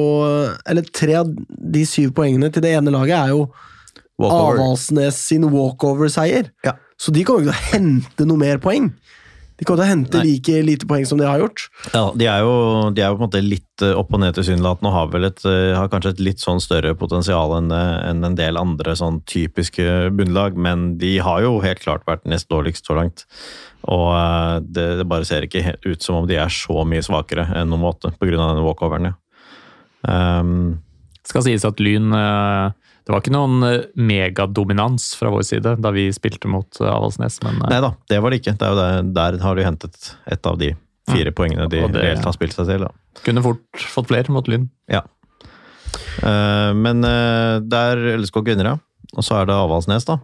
A: Eller tre av de syv poengene til det ene laget er jo
C: Walkover.
A: Avaldsnes sin walkover-seier.
C: Ja.
A: Så de kommer ikke til å hente noe mer poeng. De kommer til å hente
C: Nei.
A: like lite poeng som de har gjort.
C: Ja, de, er jo, de er jo på en måte litt eh, opp og ned tilsynelatende og har, vel et, eh, har kanskje et litt sånn større potensial enn eh, enn en del andre sånn typiske bunnlag, men de har jo helt klart vært nest dårligst så langt. Og eh, det, det bare ser ikke he- ut som om de er så mye svakere enn nummer åtte pga. denne walkoveren. Ja. Um,
D: Skal sies at Lyn eh, Det var ikke noen eh, megadominans fra vår side da vi spilte mot eh, Avaldsnes, men eh,
C: Nei da, det var det ikke. Det er jo der, der har de hentet et av de fire
A: Mm.
C: poengene de
D: Og det-
C: reelt har spilt seg til. Da.
D: kunne fort fått flere mot Lyn.
C: Ja. Eh, men eh, det er LSK Kvinner, ja. Og så er det Avaldsnes, da.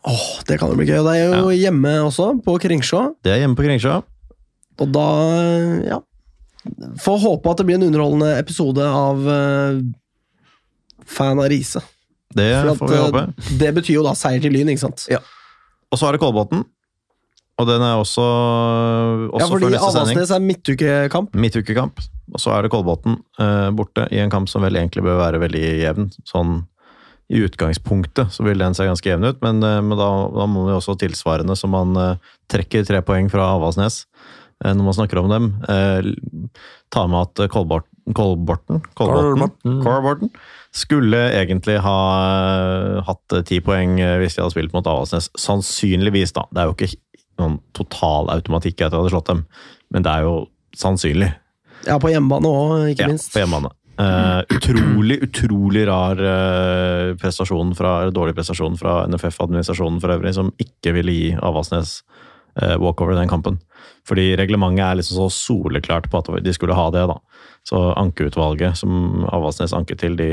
A: Åh, det kan jo bli gøy. Og det er jo hjemme også, på Kringsjå.
C: Det er hjemme på Kringsjå.
A: Og da, ja Får håpe at det blir en underholdende episode av eh, Fan av Riise.
C: Det
A: For
C: får vi
A: at,
C: håpe.
A: eh, det betyr jo da seier til Lyn, ikke sant?
C: Ja. Og så er det Kolbotn. Og den er også, også
A: Ja, fordi
C: før neste sending.
A: Avaldsnes er midtukekamp.
C: Midtukekamp. Og så er det Kolbotn eh, borte i en kamp som vel egentlig bør være veldig jevn. Sånn i utgangspunktet så vil den se ganske jevn ut, men, eh, men da, da må vi også tilsvarende, så man eh, trekker tre poeng fra Avaldsnes eh, når man snakker om dem. Eh, l- ta med at eh, Kolbort, Kolborten, Kolbotn
D: Kolbotn.
C: Kolbotn skulle egentlig ha eh, hatt eh, ti poeng eh, hvis de hadde spilt mot Avaldsnes. Sannsynligvis, da. Det er jo ikke noen total automatikk i at de hadde slått dem, men det er jo sannsynlig.
A: Ja, på hjemmebane òg, ikke
C: Ja,
A: minst.
C: på hjemmebane. Eh, utrolig, utrolig rar eh, prestasjon fra, eller dårlig prestasjon fra NFF-administrasjonen for øvrig, som ikke ville gi Avaldsnes eh, walkover i den kampen. Fordi reglementet er liksom så soleklart på at de skulle ha det, da. Så ankeutvalget som Avaldsnes anket til, de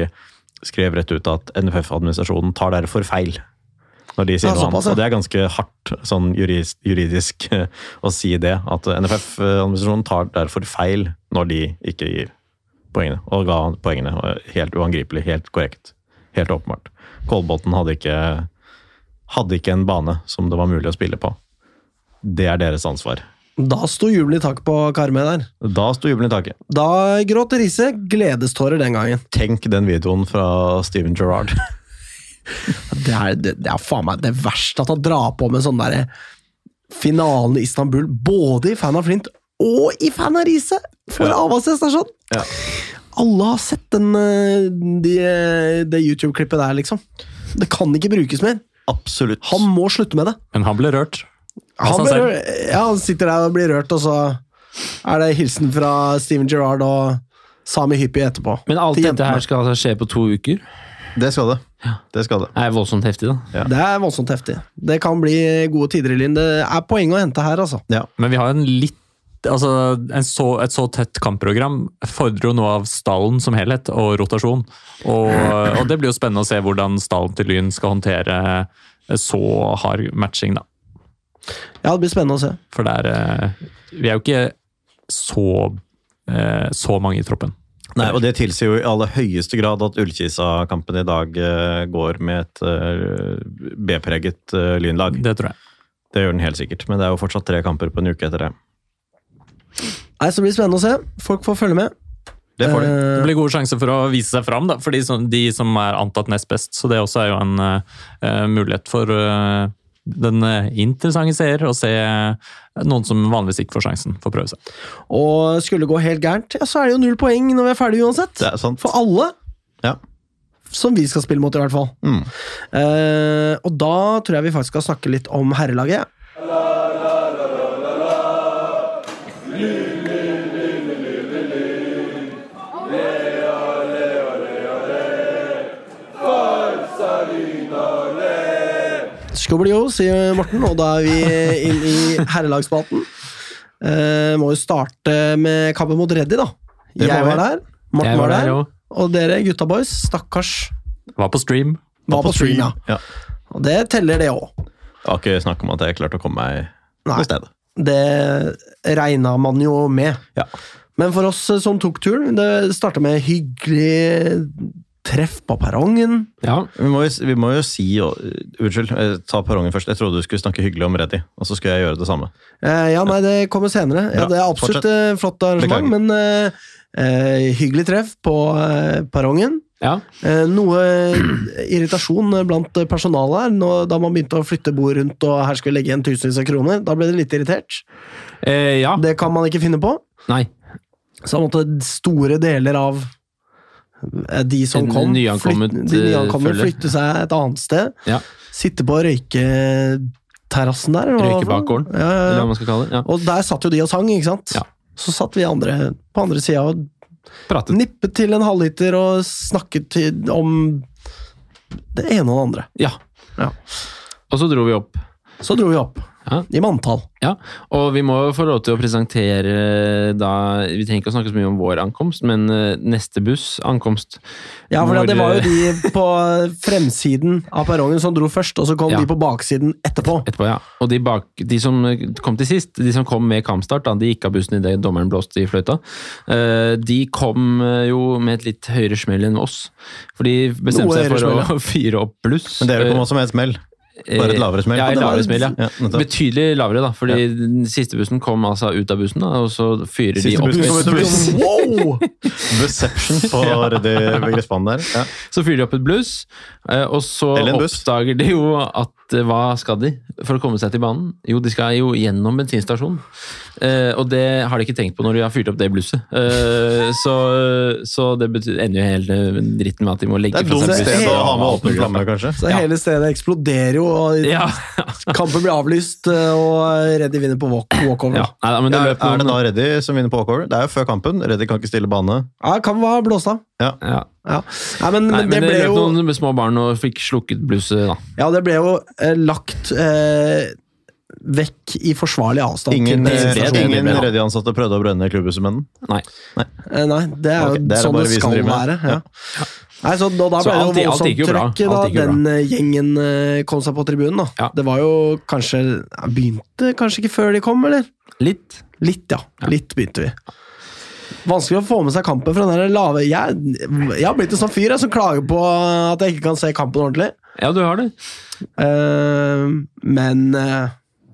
C: skrev rett ut at NFF-administrasjonen tar derfor feil. Når de sier
A: Ja,
C: noe
A: såpass,
C: annet.
A: ja.
C: Og det er ganske hardt sånn juris, juridisk eh, å si det. At NFF-administrasjonen tar derfor feil når de ikke gir poengene. Og ga poengene. og Helt uangripelig, helt korrekt. Helt åpenbart. Kolbotn hadde ikke, hadde ikke en bane som det var mulig å spille på. Det er deres ansvar.
A: Da sto jubelen i tak på Karmøy der.
C: Da sto jubelen i taket.
A: Da gråt Riise gledestårer den gangen.
C: Tenk den videoen fra Steven Gerrard.
A: Det er, det, det er faen meg det verste at han drar på med sånn derre finalen i Istanbul, både i Fan av Flint og i Fan av Riise! For Avaldsnes er sånn!
C: Ja.
A: Alle har sett den, eh, de, eh, det YouTube-klippet der, liksom. Det kan ikke brukes mer.
C: Absolutt.
A: Han må slutte med det.
D: Men han ble rørt.
A: Han,
D: Altså,
A: blir,
D: selv-
A: rørt- ja, han sitter der og blir rørt, og så er det hilsen fra Steven Gerrard og Sami Hyppie etterpå.
B: Men alt
A: Til
B: dette
A: jentene.
B: her skal altså skje på to uker.
C: Det skal det. Det skal det.
B: Det er voldsomt heftig, da.
A: Det er voldsomt heftig. Det kan bli gode tider i Lyn. Det er poeng å hente her, altså.
C: Ja.
D: Men vi har en litt Altså, en så, et så tett kampprogram fordrer jo noe av stallen som helhet, og rotasjon. Og, og det blir jo spennende å se hvordan stallen til Lyn skal håndtere så hard matching, da.
A: Ja, det blir spennende å se.
D: For det er eh, Vi er jo ikke så eh, så mange i troppen.
C: Nei, og det tilsier jo i aller høyeste grad at Ullkisa-kampen i dag eh, går med et eh, B-preget eh, lynlag.
D: Det tror jeg.
C: Det gjør den helt sikkert, men det er jo fortsatt tre kamper på en uke etter det.
A: Nei, så det blir spennende å se. Folk får følge med.
C: Det får de.
A: Eh,
D: Det blir gode sjanser for å vise seg fram da, for de som, de som er antatt nest best. Så det også er jo en eh, mulighet for eh, den eh, interessante seer å se eh, noen som vanligvis ikke får sjansen, få prøve seg.
A: Og skulle det gå helt gærent, ja, så er det jo null poeng når vi er ferdige uansett.
C: Det er sant.
A: For alle
C: Ja.
A: som vi skal spille mot, i hvert fall.
C: Mm.
A: Eh, og da tror jeg vi faktisk skal snakke litt om herrelaget. Skobelio, sier Morten, og da er vi inn i herrelagsspalten. Eh, må jo starte med kampen mot Reddy, da.
C: må
A: Jeg var
C: vi.
A: der, Morten
B: Jeg
A: var der,
B: der også.
A: og dere gutta boys, stakkars,
D: Var på stream.
A: var på stream, ja.
C: Ja.
A: Og det teller, det òg.
C: Det var ikke snakk om at jeg klarte å komme meg
A: Nei.
C: noe sted.
A: Det regna man jo med.
C: Ja.
A: Men for oss eh, som tok turen, det starta med hyggelig treff på perrongen.
B: Ja.
C: Vi må, jo, vi må jo si og, Unnskyld, eh, ta perrongen først. Jeg trodde du skulle snakke hyggelig om Reddy, og så skulle jeg gjøre det samme.
A: Eh, ja, nei, det kommer senere. Ja,
C: Bra.
A: det er absolutt eh, flott arrangement, men
C: Beklager.
A: eh, eh, hyggelig treff på eh, perrongen.
B: ja.
A: Eh, noe irritasjon blant personalet her nå, da man begynte å flytte bord rundt og her skulle legge igjen tusenvis av kroner. Da ble det litt irritert.
B: Eh, ja.
A: Det kan man ikke finne på.
B: Nei.
A: Så han måtte store deler av eh, de som
B: En
A: kom,
B: nyankommet,
A: flytte, de
B: eh,
A: nyankomne
B: følger.
A: flytte seg et annet sted.
B: Ja.
A: Sitte på røyketerrassen der. eller hva det var for noe?
B: Røykebakgården,
A: Ja,
B: Eller
A: ja,
B: hva
A: ja.
B: man skal kalle det. Ja.
A: Og der satt jo de og sang, ikke sant?
B: Ja.
A: Så satt vi andre på andre sida og
B: Pratet.
A: nippet til en halvliter og snakket til, om det ene og det andre.
B: Ja.
A: Ja.
B: Og så dro vi opp.
A: Så dro vi opp.
B: Ja.
A: I manntall.
B: Ja, og vi må jo få lov til å presentere da Vi trenger ikke å snakke så mye om vår ankomst, men eh, neste buss ankomst
A: Ja, for
B: Når,
A: det var jo
B: eh,
A: de på fremsiden av perrongen som dro først, og så kom
B: Ja.
A: de på baksiden etterpå.
B: etterpå, ja. Og de, bak, de som eh, kom til sist, de som kom med kampstart, da, de gikk av bussen idet dommeren blåste i fløyta, eh, de kom eh, jo med et litt høyere smell enn oss. For de
A: Noe
B: bestemte seg
A: høyere
B: for å fyre opp bluss.
C: Men dere kom også med et smell. Bare et lavere
B: Eh,
C: smell.
B: Ja, et
C: Det var-
B: lavere smell, ja.
C: Ja, nettopp.
B: Betydelig lavere, da. Fordi den siste bussen kom altså ut av bussen, da, og så fyrer de
C: Siste
B: opp
C: bussen kom ut av
B: bluss.
C: bussen.
A: Wow!
C: Reception på Reddy ved gressbanen der. Ja.
B: Så fyrer de opp et bluss, eh, og så
C: Eller en buss.
B: oppdager de jo at eh, hva skal de for å komme seg til banen? Jo, de skal jo gjennom bensinstasjonen. Eh, og det har de ikke tenkt på når de har fyrt opp det blusset. Eh, så, så det betyr, ender jo hele dritten med at de må legge
C: Det er et
B: fra
C: dumt
B: seg
A: sted
C: sted
B: blusset.
C: å ha med
B: og-
C: åpen flamme, kanskje.
A: Så hele stedet eksploderer jo, og
B: Ja,
A: kampen blir avlyst, eh, og Reddy vinner på walk- walkover.
B: ja.
A: Ja.
B: Nei, da, men det
C: Ja,
B: løp
C: er det
B: noen
C: da Reddy som vinner på walkover? Det er jo før kampen. Reddy kan ikke stille bane.
A: kan være blåst av.
B: ja.
A: Ja. Nei, men,
B: Nei,
A: men
B: men
A: det,
B: det,
A: ble
B: løp
A: jo,
B: noen små barn og fikk slukket blusset, da.
A: ja, det ble jo eh, lagt eh, vekk i forsvarlig avstand.
C: Ingen,
A: til
B: det-
C: eh,
B: det-
A: stasjonen.
B: det-
C: ingen Reddy-ansatte prøvde å brenne klubbhuset med den.
B: Nei.
A: Eh, Nei, det er jo
C: Ok, det er det
A: sånn
C: bare
A: det
C: vi som
A: skal
C: driver med.
A: være. Ja. Nei, så da, da
B: Så
A: ble
B: alt
A: det
B: i-
A: jo
B: alt
A: voldsomt
B: gikk jo bra.
A: trøkk da
B: Alt gikk jo
A: den eh, gjengen eh, kom seg på tribunen. da.
B: Ja.
A: Det var jo kanskje ja, Begynte kanskje ikke før de kom, eller?
B: Litt.
A: Litt, ja. Litt begynte vi. Vanskelig å få med seg kampen fra den der lave Jeg, jeg har blitt en sånn fyr jeg, som klager på at jeg ikke kan se kampen ordentlig.
B: Ja, du har det.
A: Eh, men eh,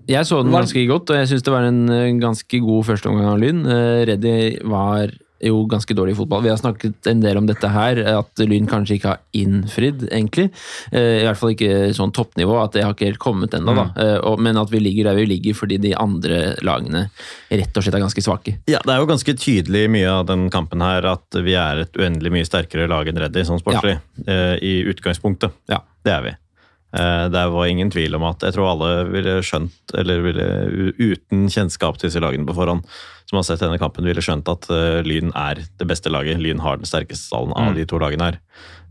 B: Jeg så den
A: Var-
B: ganske godt, og jeg syns det var en eh, ganske god førsteomgang av Lyn. Eh, Reddy var jo ganske dårlig i fotball. Vi har snakket en del om dette her, eh, at Lyn kanskje ikke har innfridd, egentlig. Eh, I hvert fall ikke sånn toppnivå, at det har ikke helt kommet ennå, da. Eh, og- Men at vi ligger der vi ligger fordi de andre lagene rett og slett er ganske svake.
C: Ja, Det er jo ganske tydelig i mye av den kampen her at vi er et uendelig mye sterkere lag enn Reddy sånn sportslig. eh, I utgangspunktet.
B: Ja.
C: Det er vi. Eh, Det var ingen tvil om at jeg tror alle ville skjønt, eller ville u- uten kjennskap til disse lagene på forhånd, som har sett denne kampen, ville skjønt at eh, Lyn er det beste laget. Lyn har den sterkeste stallen
D: Mm.
C: av de to lagene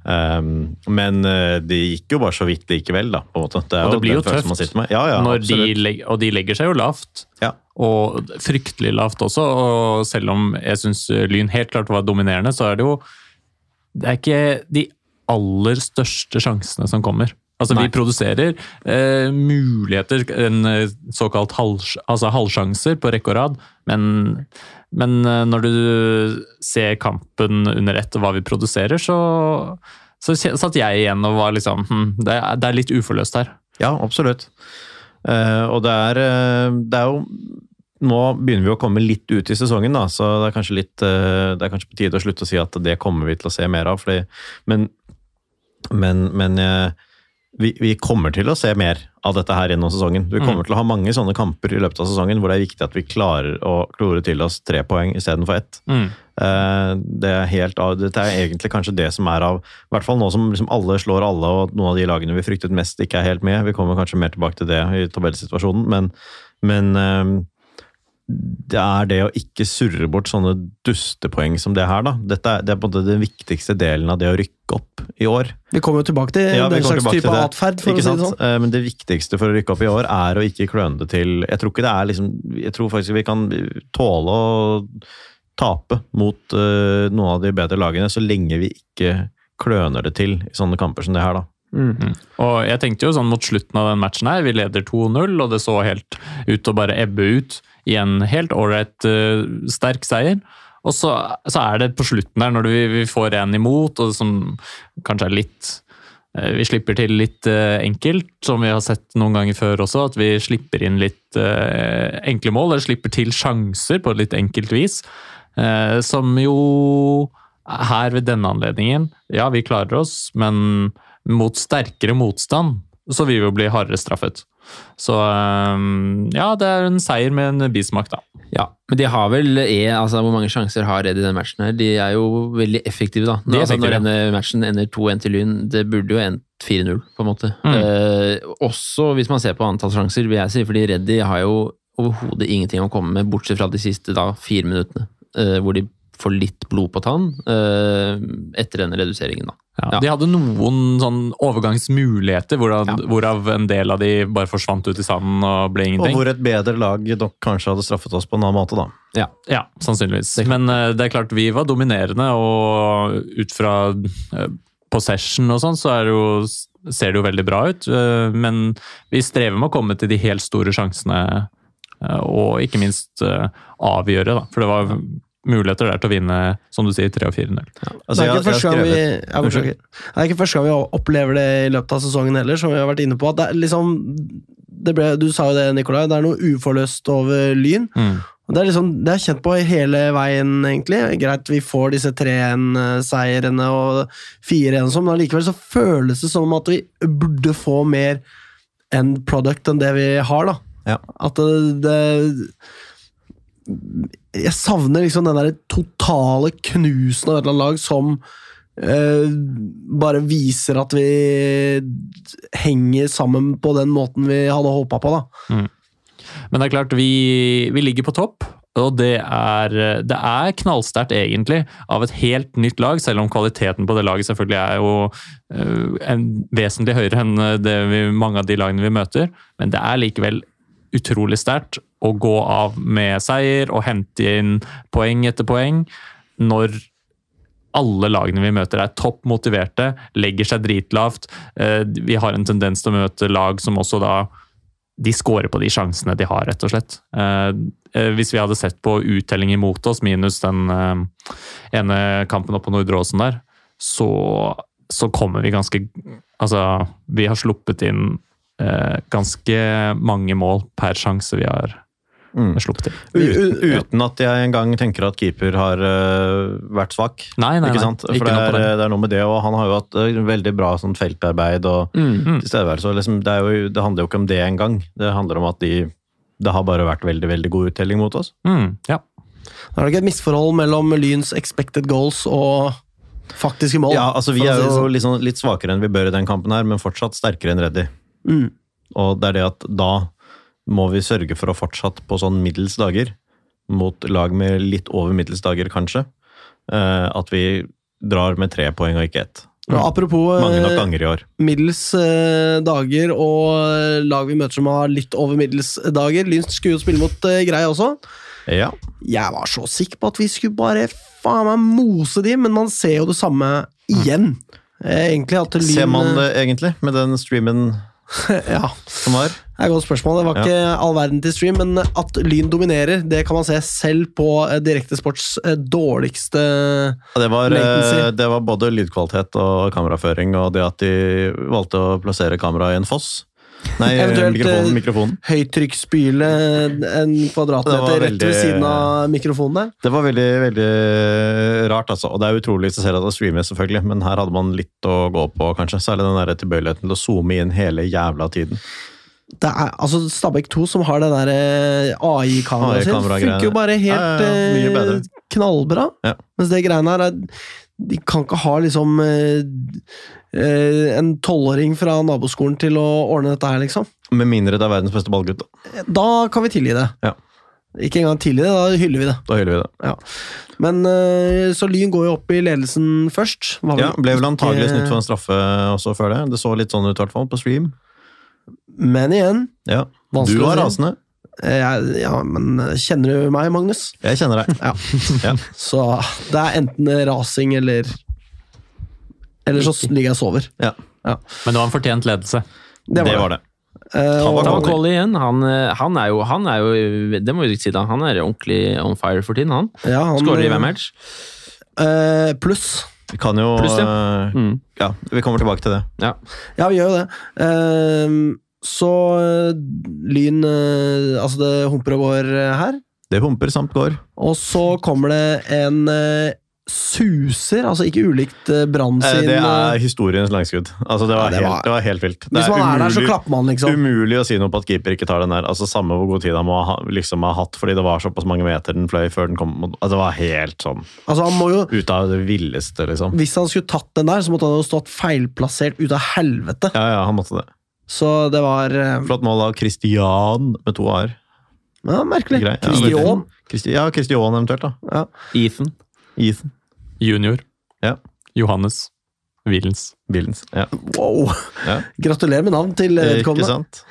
C: her. Um, men eh, det gikk jo bare så vidt likevel, da. på en måte. Det er
D: Og det blir jo
C: den følelsen man
D: tøft
C: sitter med. Ja, ja,
D: Når de
C: absolutt.
D: legger, og de legger seg jo lavt,
C: Ja.
D: og fryktelig lavt også. Og selv om jeg syns Lyn helt klart var dominerende, så er det jo Det er ikke de aller største sjansene som kommer. Altså, vi produserer eh, muligheter, en eh, såkalt halvs- altså halvsjanser på rekke og rad, men, men eh, når du ser kampen under ett og hva vi produserer, så, så kje- satt jeg igjen og var liksom hm, det, er, det er litt uforløst her.
C: Ja, absolutt. Eh, og det er, eh, det er jo Nå begynner vi å komme litt ut i sesongen, da, så det er kanskje litt eh, Det er kanskje på tide å slutte å si at det kommer vi til å se mer av. Fordi, men men, men eh, vi, vi kommer til å se mer av dette her gjennom sesongen. Vi kommer til å ha mange sånne kamper i løpet av sesongen hvor det er viktig at vi klarer å klore til oss tre poeng istedenfor ett. Eh, Det er helt av, dette er egentlig kanskje det som er av I hvert fall nå som liksom alle slår alle, og noen av de lagene vi fryktet mest, ikke er helt med. Vi kommer kanskje mer tilbake til det i tabellsituasjonen, men, men eh, det er det å ikke surre bort sånne dustepoeng som det her, da. Dette er, det er på en måte den viktigste delen av det å rykke opp i år.
A: Vi kommer jo tilbake til
C: Ja,
A: Eh,
C: vi
A: den
C: kommer
A: slags
C: tilbake
A: type
C: til det.
A: atferd, for
C: Ikke
A: å si det
C: sant?
A: sånn.
C: Eh, Men det viktigste for å rykke opp i år er å ikke kløne det til Jeg tror ikke det er liksom Jeg tror faktisk vi kan tåle å tape mot eh, noen av de bedre lagene, så lenge vi ikke kløner det til i sånne kamper som det her, da.
D: Og jeg tenkte jo sånn mot slutten av den matchen her, vi leder 2-0, og det så helt ut å bare ebbe ut i en helt ålreit eh, sterk seier. Og så, så er det på slutten der, når vi, vi får en imot, og som kanskje er litt eh, vi slipper til litt eh, enkelt, som vi har sett noen ganger før også. At vi slipper inn litt eh, enkle mål, eller slipper til sjanser på et litt enkelt vis. eh, som jo her ved denne anledningen Ja, vi klarer oss, men mot sterkere motstand så vil vi jo bli hardere straffet. Så eh, ja, det er en seier med en bismak, da.
B: Ja, men de har vel eh, altså, Hvor mange sjanser har Red i den matchen her? De er jo veldig effektive, da.
D: De er
B: altså, når
D: effektive.
B: denne matchen ender 2-1 til Lyn, det burde jo endt 4-0, på en måte.
D: Mm.
B: Eh, også hvis man ser på antall sjanser, vil jeg si, fordi Reddy har jo overhodet ingenting å komme med, bortsett fra de siste da, fire minuttene, eh, hvor de får litt blod på tann eh, etter denne reduseringen, da.
D: Ja,
B: Ja.
D: De hadde noen sånn overgangsmuligheter, hvorav, hvorav en del av de bare forsvant ut i sanden og ble
C: Og
D: ingenting.
C: hvor et bedre lag nok kanskje hadde straffet oss på en annen måte, da.
D: Ja, sannsynligvis. Men eh, det er klart, vi var dominerende, og ut fra eh, possession og sånn, så er det jo, ser det jo veldig bra ut. eh, men vi strever med å komme til de helt store sjansene, eh, og ikke minst eh, avgjøre, da. For det var muligheter der til å vinne, som du sier, 3-4-0.
C: Altså,
A: det, er ikke
C: jeg- jeg
A: første gang vi,
C: skrevet-
A: ja, beklager. det er ikke første gang vi opplever det i løpet av sesongen heller, som vi har vært inne på. At det er liksom, det ble, du sa jo det, Nikolai, det er noe uforløst over Lyn.
C: Mm.
A: Og Det er, liksom, det er kjent på hele veien, egentlig. Greit, vi får disse 3-1-seierne og 4-1 og sånn, men allikevel så føles det som at vi burde få mer end product enn det vi har, da.
C: Ja.
A: At det, det Jeg savner liksom den der totale knusen av et eller annet lag som eh, bare viser at vi henger sammen på den måten vi hadde håpa på, da.
D: Men det er klart, vi, vi ligger på topp. Og det er, det er knallsterkt, egentlig, av et helt nytt lag. Selv om kvaliteten på det laget selvfølgelig er jo øh, en, vesentlig høyere enn eh, det vi, mange av de lagene vi møter. Men det er likevel utrolig sterkt å gå av med seier og hente inn poeng etter poeng når alle lagene vi møter er topp motiverte, legger seg dritlavt. Eh, Vi har en tendens til å møte lag som også da De scorer på de sjansene de har, rett og slett. Eh, eh, Hvis vi hadde sett på uttelling imot oss, minus den eh, ene kampen oppe på Nordre Åsen der, så, så kommer vi ganske Altså, vi har sluppet inn eh, ganske mange mål per sjanse vi har
C: Mm.
D: sluppet inn.
C: Uten, uten at jeg engang tenker at keeper har øh, vært svak.
D: Nei, nei, nei.
C: ikke sant? For
D: Ikke
C: det,
D: noe på
C: er, eh,
D: det.
C: det er noe med det, og han har jo hatt øh, veldig bra sånn feltarbeid og
B: Mm.
C: tilstedeværelse. og Liksom, det, er jo, det handler jo ikke om det engang. Det handler om at de, det har bare vært veldig veldig god uttelling mot oss.
D: Mm, ja.
A: Det er nok et misforhold mellom Lyns expected goals og Faktiske mål.
C: Ja, altså Vi
A: for å
C: er
A: si det
C: jo
A: sånn.
C: liksom litt svakere enn vi bør i den kampen, her, men fortsatt sterkere enn Reddy.
A: Mm.
C: Og det er det at da må vi sørge for å fortsatt på sånn middels dager, mot lag med litt over middels dager, kanskje, eh, at vi drar med tre poeng og ikke ett.
A: Men Apropos
C: Mm. Mange nok
A: eh,
C: ganger i år.
A: middels eh, dager og eh, lag vi møter som har litt over middels dager. Lyn skulle jo spille mot eh, Grei også.
C: Ja.
A: Jeg var så sikker på at vi skulle bare faen meg mose de, men man ser jo det samme igjen. Eh, Egentlig at Lyn
C: Ser man det egentlig, med den streamen
A: Ja,
C: som var?
A: det er et godt spørsmål. Det var
C: Ja.
A: ikke all verden til stream, men at Lyn dominerer, det kan man se selv på eh, Direktesports eh, dårligste
C: Ja, Det var,
A: Latency.
C: eh, det var både lydkvalitet og kameraføring, og det at de valgte å plassere kameraet i en foss. Nei,
A: Eventuelt,
C: mikrofonen.
A: eh,
C: mikrofonen.
A: høytrykksspyle eh, en kvadratmeter
C: Det var
A: rett ved
C: veldig-
A: siden av mikrofonen der.
C: Det var veldig veldig rart, altså. Og det er utrolig hvis du ser at det streames, selvfølgelig, men her hadde man litt å gå på, kanskje. Særlig den der tilbøyeligheten til å zoome inn hele jævla tiden.
A: Det er, altså Stabæk 2, som har det der eh, AI-kameraet sitt,
C: AI-kameragreiene.
A: funker jo bare helt
C: Ja, ja, ja, mye
A: eh,
C: bedre.
A: knallbra.
C: Ja.
A: Mens det greiene her er De kan ikke ha liksom eh, eh, en tolvåring fra naboskolen til å ordne dette her, liksom.
C: Med mindre det er verdens beste ballgutt, da.
A: Da kan vi tilgi det.
C: Ja.
A: Ikke engang tilgi det, da hyller vi det.
C: Da hyller vi det.
A: Ja. Men eh, Så Lyn går jo opp i ledelsen først. Var vel
C: Ja, ble vel antagelig
A: ikke-
C: snytt for en straffe også før det. Det så litt sånn ut, i hvert fall, på stream.
A: eh, Men igjen,
C: Ja. Du
A: Vanskelig å
C: var
A: si.
C: rasende.
A: eh, jeg, ja, men eh, kjenner du meg, Magnus?
C: Jeg kjenner deg.
A: Ja.
C: Ja.
A: Så det er enten rasing eller Eller så ligger jeg og sover.
C: Ja,
D: Men det var en fortjent ledelse.
C: det var det.
A: Eh,
C: Han var
A: og-
B: Ta Collie igjen. Han, eh, han, er jo, han er jo Det må vi ikke si, da. Han er ordentlig on fire for tiden, han.
A: ja, han,
B: Skårer i hver match.
A: eh, Pluss.
C: Vi kan jo
B: Pluss,
C: eh,
B: Mm.
C: Ja, vi kommer tilbake til det.
B: Ja.
A: Ja, vi gjør jo det. Eh, så eh, Lyn eh, Altså, det humper og går eh, her.
C: Det humper samt går.
A: Og så kommer det en eh, suser, altså ikke ulikt eh, Brann
C: Eh,
A: sin
C: Det
A: eh,
C: er historiens langskudd. Altså, det,
A: Ja,
C: var
A: det var-
C: helt, det var helt vilt. Det
A: Hvis man er der, så
C: umulig- Um-
A: klapper man, liksom.
C: Umulig å si noe på at keeper ikke tar den der. Altså Samme hvor god tid han må ha, liksom, ha hatt, fordi det var såpass mange meter den fløy før den kom mot altså, Det var helt sånn
A: Altså, han må jo
C: ut av det villeste, liksom.
A: Hvis han skulle tatt den der, så måtte han jo stått feilplassert ut av helvete.
C: Ja, ja, han måtte det.
A: Så det var eh,
C: Flott mål av Christian med to a-er.
A: ja, merkelig.
C: Grei. Ja,
A: Christian.
C: Christi- Ja, Christian eventuelt, da.
B: Ethan.
C: Ethan
D: Junior.
C: Ja.
D: Johannes. Wilens.
C: Billens. Ja.
A: Wow!
C: Ja.
A: Gratulerer med navn til
C: Eh, Ikke
A: vedkommende.
C: sant?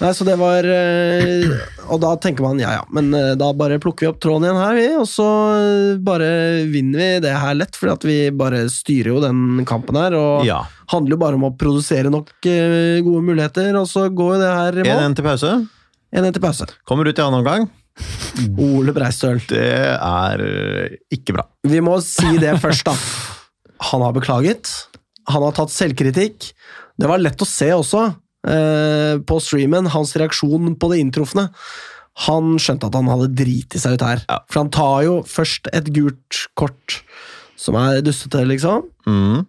A: Nei, så det var eh, Og da tenker man ja, ja, men eh, da bare plukker vi opp tråden igjen her, vi. Og så eh, bare vinner vi det her lett, fordi at vi bare styrer jo den kampen her. Og
C: Ja.
A: handler jo bare om å produsere nok eh, gode muligheter, og så går jo det her i mål.
C: 1-1 til pause.
A: 1-1 til pause.
C: Kommer ut i annen omgang.
A: Ole Breistøl.
C: Det er eh, ikke bra.
A: Vi må si det først, da. Han har beklaget. Han har tatt selvkritikk. Det var lett å se også, eh, på streamen, hans reaksjon på det inntrufne. Han skjønte at han hadde driti seg ut her.
C: Ja.
A: For han tar jo først et gult kort som er dustete, liksom.
C: Mm.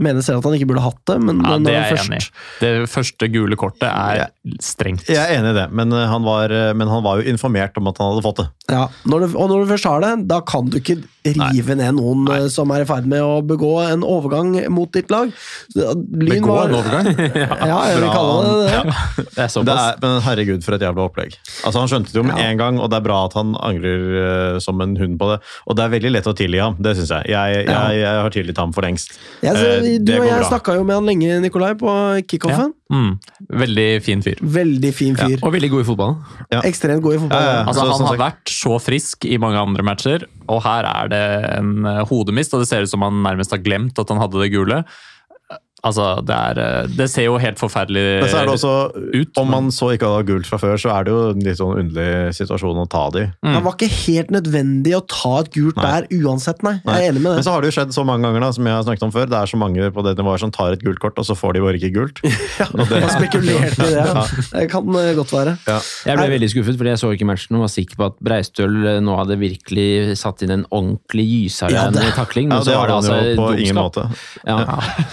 A: Mener selv at han ikke burde hatt det, men
D: Ja,
A: men
D: det
A: når han
D: er jeg
A: først-
D: enig i. Det første gule kortet er strengt.
C: Jeg er enig i det, men eh, han, var, eh, men han var jo informert om at han hadde fått det.
A: Ja, når du, og når du først har det, da kan du ikke rive ned noen eh, som er i ferd med å begå en overgang mot ditt lag. eh, Lyn
C: Begå en
A: overgang? ja, jeg vil
C: Bra,
A: kalle det det.
C: han- Ja.
B: Det er
C: Det
B: såpass.
C: er, men herregud, for et jævla opplegg. Altså Han skjønte det jo med
A: Ja.
C: en gang, og det er bra at han angrer eh, som en hund på det. Og det er veldig lett å tilgi ham, det syns jeg. Jeg, jeg, jeg. har tilgitt ham for lengst.
A: Jeg,
C: Eh,
A: så,
C: det
A: du og
C: går
A: jeg
C: bra.
A: snakka jo med han lenge, Nikolai, på kickoffen.
D: Mm. Veldig fin fyr.
A: Veldig fin fyr.
B: Og veldig god i fotball.
C: Ja.
A: Ekstremt god i fotball.
C: Ja, ja.
D: Altså,
C: Så-
D: han
C: sånn
D: har
C: sagt-
D: vært så frisk i mange andre matcher, og her er det en eh, hodemist, og det ser ut som han nærmest har glemt at han hadde det gule. Altså, det er eh, Det ser jo helt forferdelig
C: Men så er det også,
D: ut,
C: om man så ikke hadde gult fra før, så er det jo en litt sånn underlig situasjon å ta det i.
A: Det var ikke helt nødvendig å ta et gult
C: Mm. Nei.
A: der uansett, nei. Jeg er enig med
C: Men
A: det.
C: så har det jo skjedd så mange ganger, da, som jeg har snakket om før. Det er så mange på det nivået som tar et gult kort, og så får de bare ikke gult. Og sånn, det-
A: Jeg spekulerte i det. Det kan eh, godt være.
C: Ja.
B: Jeg ble veldig skuffet, fordi jeg så ikke matchen og var sikker på at Breistøl eh, nå hadde virkelig satt inn en ordentlig
A: Ja,
B: gyserjern
A: det-
B: takling. Men
C: Ja, det
B: så
C: har
B: var det
C: han
B: altså
C: jo på
B: dumskap.
C: ingen måte.
B: Ja.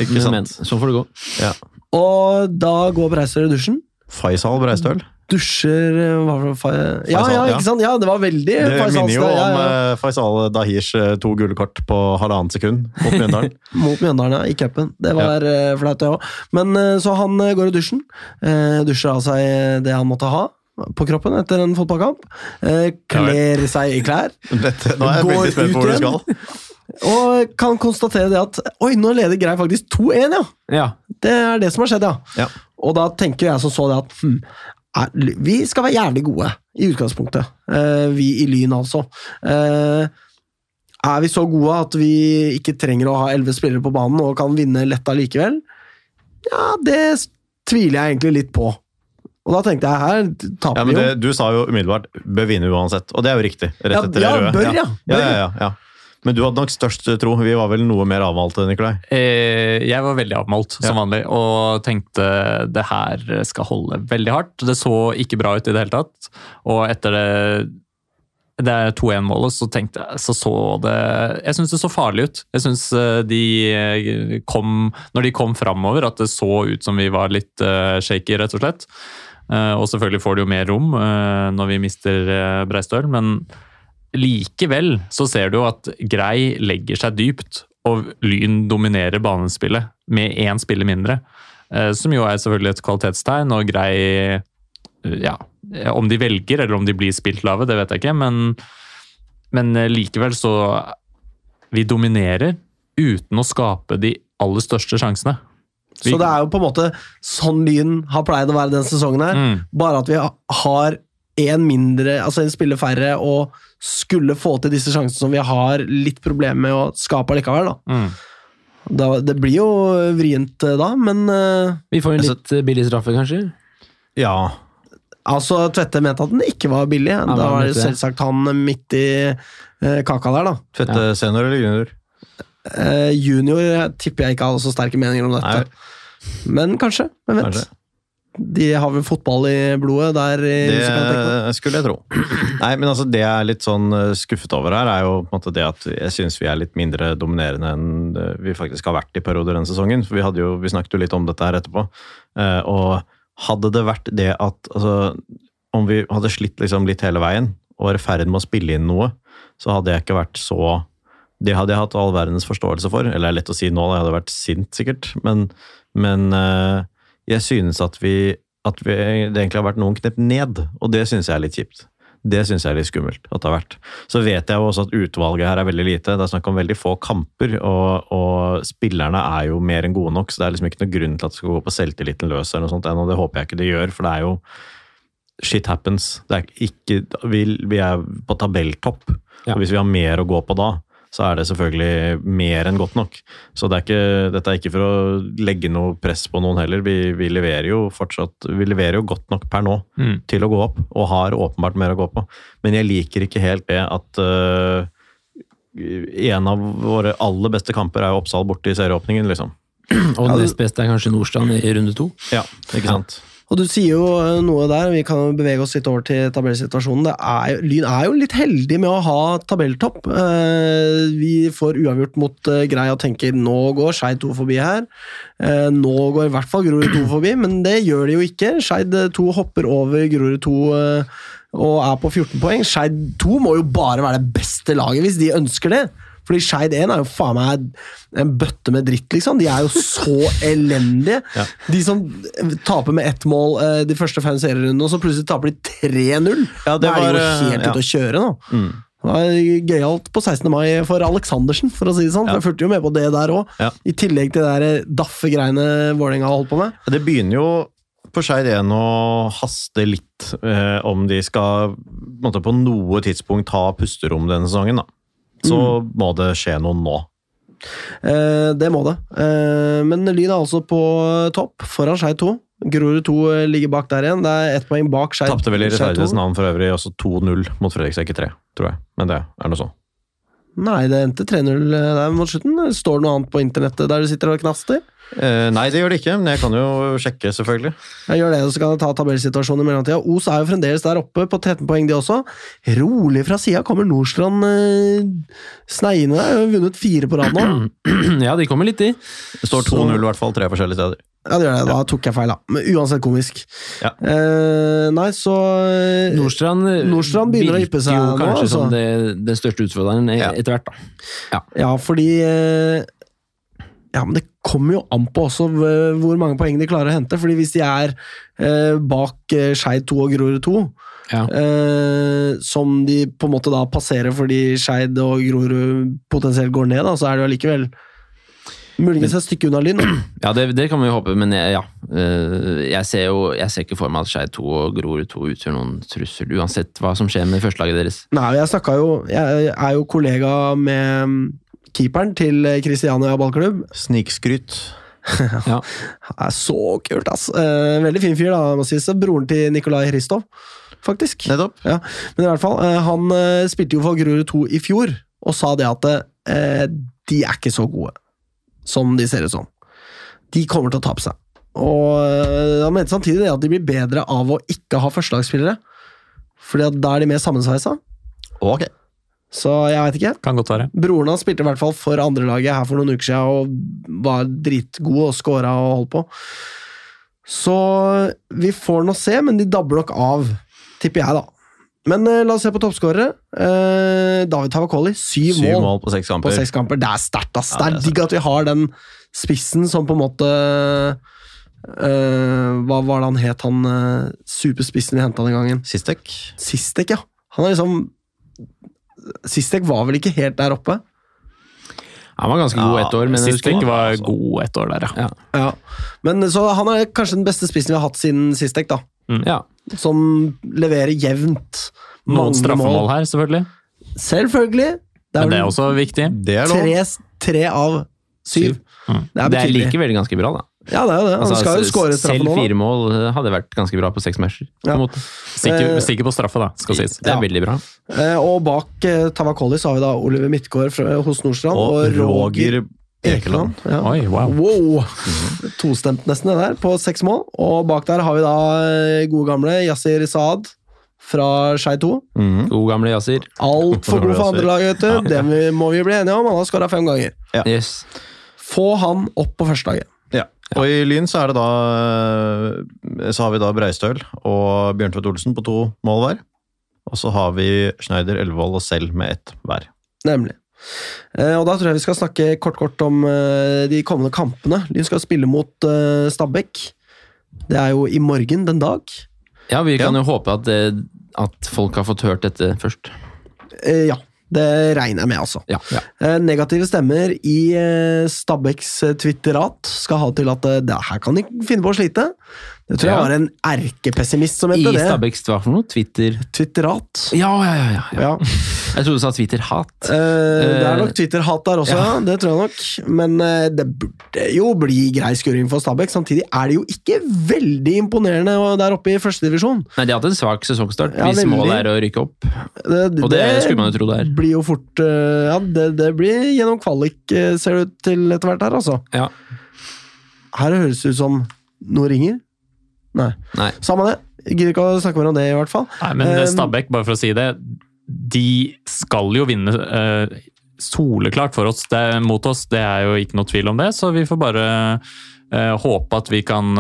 C: Ikke
B: Men, men
C: sant?
B: sånn får det gå.
C: Ja.
A: Og da går Breistøl i dusjen.
C: Faisal Breistøl.
A: dusjer eh, hva var det, Fa- ja, ja,
C: Faisal, ja.
A: ikke sant? Ja, det var veldig
C: Det minner jo
A: Faisalsted,
C: om
A: ja, ja.
C: eh, Faisal Dahirs eh, to gule kort på halvannet sekund mot Mjøndalen.
A: Mot Mjøndalen, ja, i cupen. Det var eh, flaut, det òg. Men eh, så han eh, går i dusjen. eh, dusjer av seg det han måtte ha på kroppen etter en fotballkamp. eh, kler seg i klær.
C: Dette, nå er jeg
A: Går
C: veldig spent på
A: ut
C: hvor du
A: igjen.
C: skal.
A: Og kan konstatere det at Oi, nå leder Grei faktisk 2-1, ja!
B: Ja.
A: Det er det som har skjedd, ja.
C: Ja.
A: Og da tenker jeg som så det at hm, er, vi skal være jævlig gode i utgangspunktet. Eh, vi i Lyn, altså. Eh, er vi så gode at vi ikke trenger å ha elleve spillere på banen og kan vinne lett allikevel? Ja, det s- tviler jeg egentlig litt på. Og da tenkte jeg her
C: Ja,
A: taper
C: men
A: vi jo.
C: det, du sa jo umiddelbart 'bør vinne uansett', og det er jo riktig. Rett
A: Ja, ja,
C: etter det røde.
A: bør, ja,
C: Ja,
A: bør.
C: ja, ja, ja. Men du hadde nok størst tro. Vi var vel noe mer avmalte, Nikolai.
D: Eh, Jeg var veldig avmalt, som
C: Ja.
D: vanlig, og tenkte det her skal holde veldig hardt. Det så ikke bra ut i det hele tatt. Og etter det, det 2-1-målet, så tenkte jeg så så det Jeg syns det så farlig ut. Jeg syns de eh, kom Når de kom framover, at det så ut som vi var litt eh, shaky, rett og slett. Eh, Og selvfølgelig får de jo mer rom eh, når vi mister eh, Breistøl, men Likevel så ser du jo at Grei legger seg dypt, og Lyn dominerer banespillet med én spiller mindre. Eh, Som jo er selvfølgelig et kvalitetstegn, og Grei eh, Ja, om de velger eller om de blir spilt lave, det vet jeg ikke, men, men eh, likevel så Vi dominerer uten å skape de aller største sjansene. Vi-
A: Så det er jo på en måte sånn Lyn har pleid å være den sesongen her.
D: Mm.
A: Bare at vi ha- har en mindre, altså en spiller færre, og skulle få til disse sjansene som vi har litt problemer med å skape likevel. Da.
D: Mm.
A: Da, det blir jo vrient eh, da, men eh,
B: Vi får en
C: Altså-
B: litt eh, billig straffe, kanskje.
C: Ja.
A: altså Tvette mente at den ikke var billig.
B: men
A: da var det
B: vet du det.
A: selvsagt han eh, midt i eh, kaka der, da.
C: Fette senior eller junior?
A: Eh, junior eh, tipper jeg ikke hadde så sterke meninger om dette.
C: Nei.
A: Men kanskje. Hvem vet?
C: Kanskje.
A: De har vel fotball i blodet der. I musikantrekket.
C: Det skulle jeg tro. Nei, men altså Det jeg er litt sånn eh, skuffet over her, er jo på en måte det at jeg syns vi er litt mindre dominerende enn eh, vi faktisk har vært i perioder denne sesongen. For vi, hadde jo, vi snakket jo litt om dette her etterpå. Eh, Og hadde det vært det at altså, Om vi hadde slitt liksom litt hele veien og var i ferd med å spille inn noe, så hadde jeg ikke vært så det hadde jeg hatt all verdens forståelse for. Eller det er lett å si nå, da jeg hadde vært sint, sikkert. Men, men eh, jeg synes at vi at vi, det egentlig har vært noen knepp ned, og det synes jeg er litt kjipt. Det synes jeg er litt skummelt at det har vært. Så vet jeg jo også at utvalget her er veldig lite. Det er snakk om veldig få kamper, og, og spillerne er jo mer enn gode nok, så det er liksom ikke noe grunn til at det skal gå på selvtilliten løs eller noe sånt ennå. Det håper jeg ikke det gjør, for det er jo shit happens. Det er ikke, vi, vi er på tabelltopp,
B: Ja.
C: og hvis vi har mer å gå på da, så er det selvfølgelig mer enn godt nok. Så det er ikke, dette er ikke for å legge noe press på noen heller. Vi, vi leverer jo fortsatt Vi leverer jo godt nok per nå
D: Mm.
C: til å gå opp, og har åpenbart mer å gå på. Men jeg liker ikke helt det at øh, en av våre aller beste kamper er jo Oppsal borte i serieåpningen, liksom.
B: Og den nest beste er kanskje Nordstrand i runde to.
C: Ja, ikke sant?
A: Og du sier jo eh, noe der, vi kan jo bevege oss litt over til tabellsituasjonen. Det er jo, Lyn er jo litt heldig med å ha tabelltopp. Eh, Vi får uavgjort mot eh, Grei og tenker nå går Skeid 2 forbi her. Eh, Nå går i hvert fall Grorud 2 forbi, men det gjør de jo ikke. Skeid 2 hopper over Grorud 2 eh, og er på 14 poeng. Skeid 2 må jo bare være det beste laget hvis de ønsker det. Fordi Skeid 1 er jo faen meg en bøtte med dritt, liksom. De er jo så elendige. De som eh, taper med ett mål eh, de første fem serierundene, og så plutselig taper de 3-0.
C: Ja, det
A: da er de
C: var,
A: jo
C: eh,
A: helt
C: ja. Mm.
A: ute å kjøre nå. Det var gøyalt på 16. mai for Aleksandersen, for å si det sånn. for Jeg fulgte jo med på det der òg.
C: Ja.
A: I tillegg til det der daffe-greiene Vålerenga har holdt på med.
C: Det begynner jo på Skeid 1 å haste litt eh, om de skal på en måte, på noe tidspunkt ha pusterom denne sesongen. da. Så må det skje noe nå.
A: Eh, det må det. Eh, men Lyn er altså på topp, foran Skeid 2. Grorud 2 ligger bak der igjen. Det er ett poeng bak Skeid
C: Tapte vel i
A: Skeid 2.
C: rettferdighets navn for øvrig også 2-0 mot Fredrikstad, ikke 3, tror jeg. Men det er noe sånn.
A: Nei, det endte 3-0 der eh, mot slutten. Står det noe annet på internettet der du sitter og knaster?
C: Eh, nei, det gjør det ikke, men jeg kan jo sjekke, selvfølgelig.
A: Jeg gjør det, og så kan jeg ta tabellsituasjonen i mellomtida. Os er jo fremdeles der oppe, på 13 poeng, de også. Rolig fra sida kommer Nordstrand eh, sneiende der. Har Vunnet fire på rad nå.
B: Ja, de kommer litt, de.
C: Det står 2-0 i hvert fall tre forskjellige steder.
A: Ja, det gjør det. Da tok jeg feil, da. Men uansett komisk.
C: Ja.
A: Eh, nei, så eh,
B: Nordstrand,
A: Nordstrand begynner å
B: virker
A: yppe seg
B: jo
A: nå,
B: kanskje
A: altså.
B: som det, den største utfordreren e-
C: Ja.
B: etter hvert, da.
A: Ja, fordi eh, Ja, men det kommer jo an på også eh, hvor mange poeng de klarer å hente. fordi hvis de er eh, bak eh, Skeid 2 og Grorud 2,
B: Ja.
A: eh, som de på en måte da passerer fordi Skeid og Grorud potensielt går ned, da, så er det jo allikevel muligens et stykke unna Lyn. da.
B: Ja, det, det kan vi jo håpe, men jeg, ja. Eh, Jeg ser jo jeg ser ikke for meg at Skeid 2 og Grorud 2 utgjør noen trussel, uansett hva som skjer med førstelaget deres.
A: Nei, jeg snakka jo Jeg er jo kollega med mm, keeperen til eh, Christiania ballklubb.
C: Snikskryt.
B: Ja.
A: Det er så kult, ass. Eh, veldig fin fyr, da, må sies. Broren til Nikolai Hristov, faktisk.
C: Nettopp.
A: Ja, men i hvert fall, eh, han eh, spilte jo for Grorud 2 i fjor, og sa det at eh, de er ikke så gode som de ser ut som. De kommer til å tape seg. Og eh, han mente samtidig det at de blir bedre av å ikke ha førstelagsspillere, Fordi at da er de mer sammensveisa.
C: Ok.
A: Så jeg veit ikke.
D: Kan godt være.
A: Broren hans spilte i hvert fall for andrelaget her for noen uker siden og var dritgod og scora og holdt på. Så vi får nå se, men de dabber nok av, tipper jeg, da. Men eh, la oss se på toppskårere. Eh, David Tavakoli, syv,
C: Syv
A: mål
C: mål på seks
A: på
C: kamper.
A: seks kamper. Det er sterkt, ass. det
C: Ja, det
A: er
C: er
A: digg at vi har den spissen som på en måte eh, Hva var det han het, han eh, superspissen vi henta den gangen?
C: Sistek.
A: Sistek, ja. Han er liksom Sistek var vel ikke helt der oppe?
B: Han var ganske god
C: Ja,
B: ett år, men jeg
D: Sist
B: husker
D: ikke
B: ikke.
D: var god ett år der,
B: Ja.
A: Ja, men så han er kanskje den beste spissen vi har hatt siden Sistek, da.
B: Ja.
A: Som leverer jevnt.
D: Noen
A: Mange
D: straffemål her, selvfølgelig.
A: mål. Selvfølgelig. Det
D: Men det er
A: vel
D: også viktig.
C: Det er lov.
A: tre, tre av syv.
B: Syv.
A: Det er
B: Det er
A: betydelig.
B: likevel ganske bra, da.
A: Ja, det er jo det. Han
B: Altså,
A: skal jo skåre
B: selv
A: straffemål.
B: fire mål eh, hadde vært ganske bra på seks matcher. på
A: Ja.
B: en måte.
D: Sikker, sikker på straffe, da, skal sies.
B: Eh, Det er veldig bra.
A: da. Eh, Og bak eh, Tavakoli så har vi da Oliver Midtgaard fra- hos Nordstrand og,
C: Og Roger
A: Ekeland.
C: Ekeland.
A: Ja.
D: Oi, wow.
A: Wow! Tostemt nesten det der, på seks mål. Og bak der har vi da eh, gode gamle Yasir Saad fra Skei 2.
C: Mhm.
B: God gamle Yasir.
A: Altfor god for andre lag, vet du. Det vi- må vi bli enige om. Han har skåra fem ganger.
B: Yes.
A: Få han opp på førstelaget.
C: Ja. Og i Lyn så er det da eh, Så har vi da Breistøl og Bjørntvedt Olsen på to mål hver. Og så har vi Schneider, Elvevold og selv med ett hver.
A: Nemlig. Eh, og da tror jeg vi skal snakke kort kort om eh, de kommende kampene. Lyn skal spille mot eh, Stabæk. Det er jo i morgen den dag.
B: Ja, vi kan jo håpe at, eh, at folk har fått hørt dette først.
A: Eh, ja. Det regner jeg med, altså.
B: Ja.
A: Eh, negative stemmer i eh, Stabæks eh, twitterat skal ha til at eh, det her kan de finne på å slite. Det tror jeg
B: Ja.
A: var en erkepessimist som
B: I
A: het det.
B: Stabæks, hva for noe? Twitter
A: Twitterat.
B: Ja, ja, ja. ja, ja.
A: Ja.
B: Jeg trodde du sa Twitter-hat.
A: Eh, det er
B: Eh,
A: nok Twitter-hat der også, ja. det tror jeg nok. Men eh, det burde jo bli grei skuring for Stabæk. Samtidig er det jo ikke veldig imponerende der oppe i førstedivisjon.
B: Nei, de har hatt en svak sesongstart
A: Ja,
B: hvis
A: veldig.
B: målet er å rykke opp. Og det skulle man jo tro det er.
A: Blir jo fort eh, Ja, det, det blir gjennom kvalik, eh, ser det ut til etter hvert her, altså.
B: Ja.
A: Her høres det ut som noe ringer. Nei.
B: Nei.
A: Samme det. Jeg Gidder ikke å snakke mer om det, i hvert fall.
D: Nei, men eh,
A: Um,
D: Stabæk, bare for å si det, de skal jo vinne eh, soleklart for oss det, er mot oss. Det er jo ikke noe tvil om det, så vi får bare eh, håpe at vi kan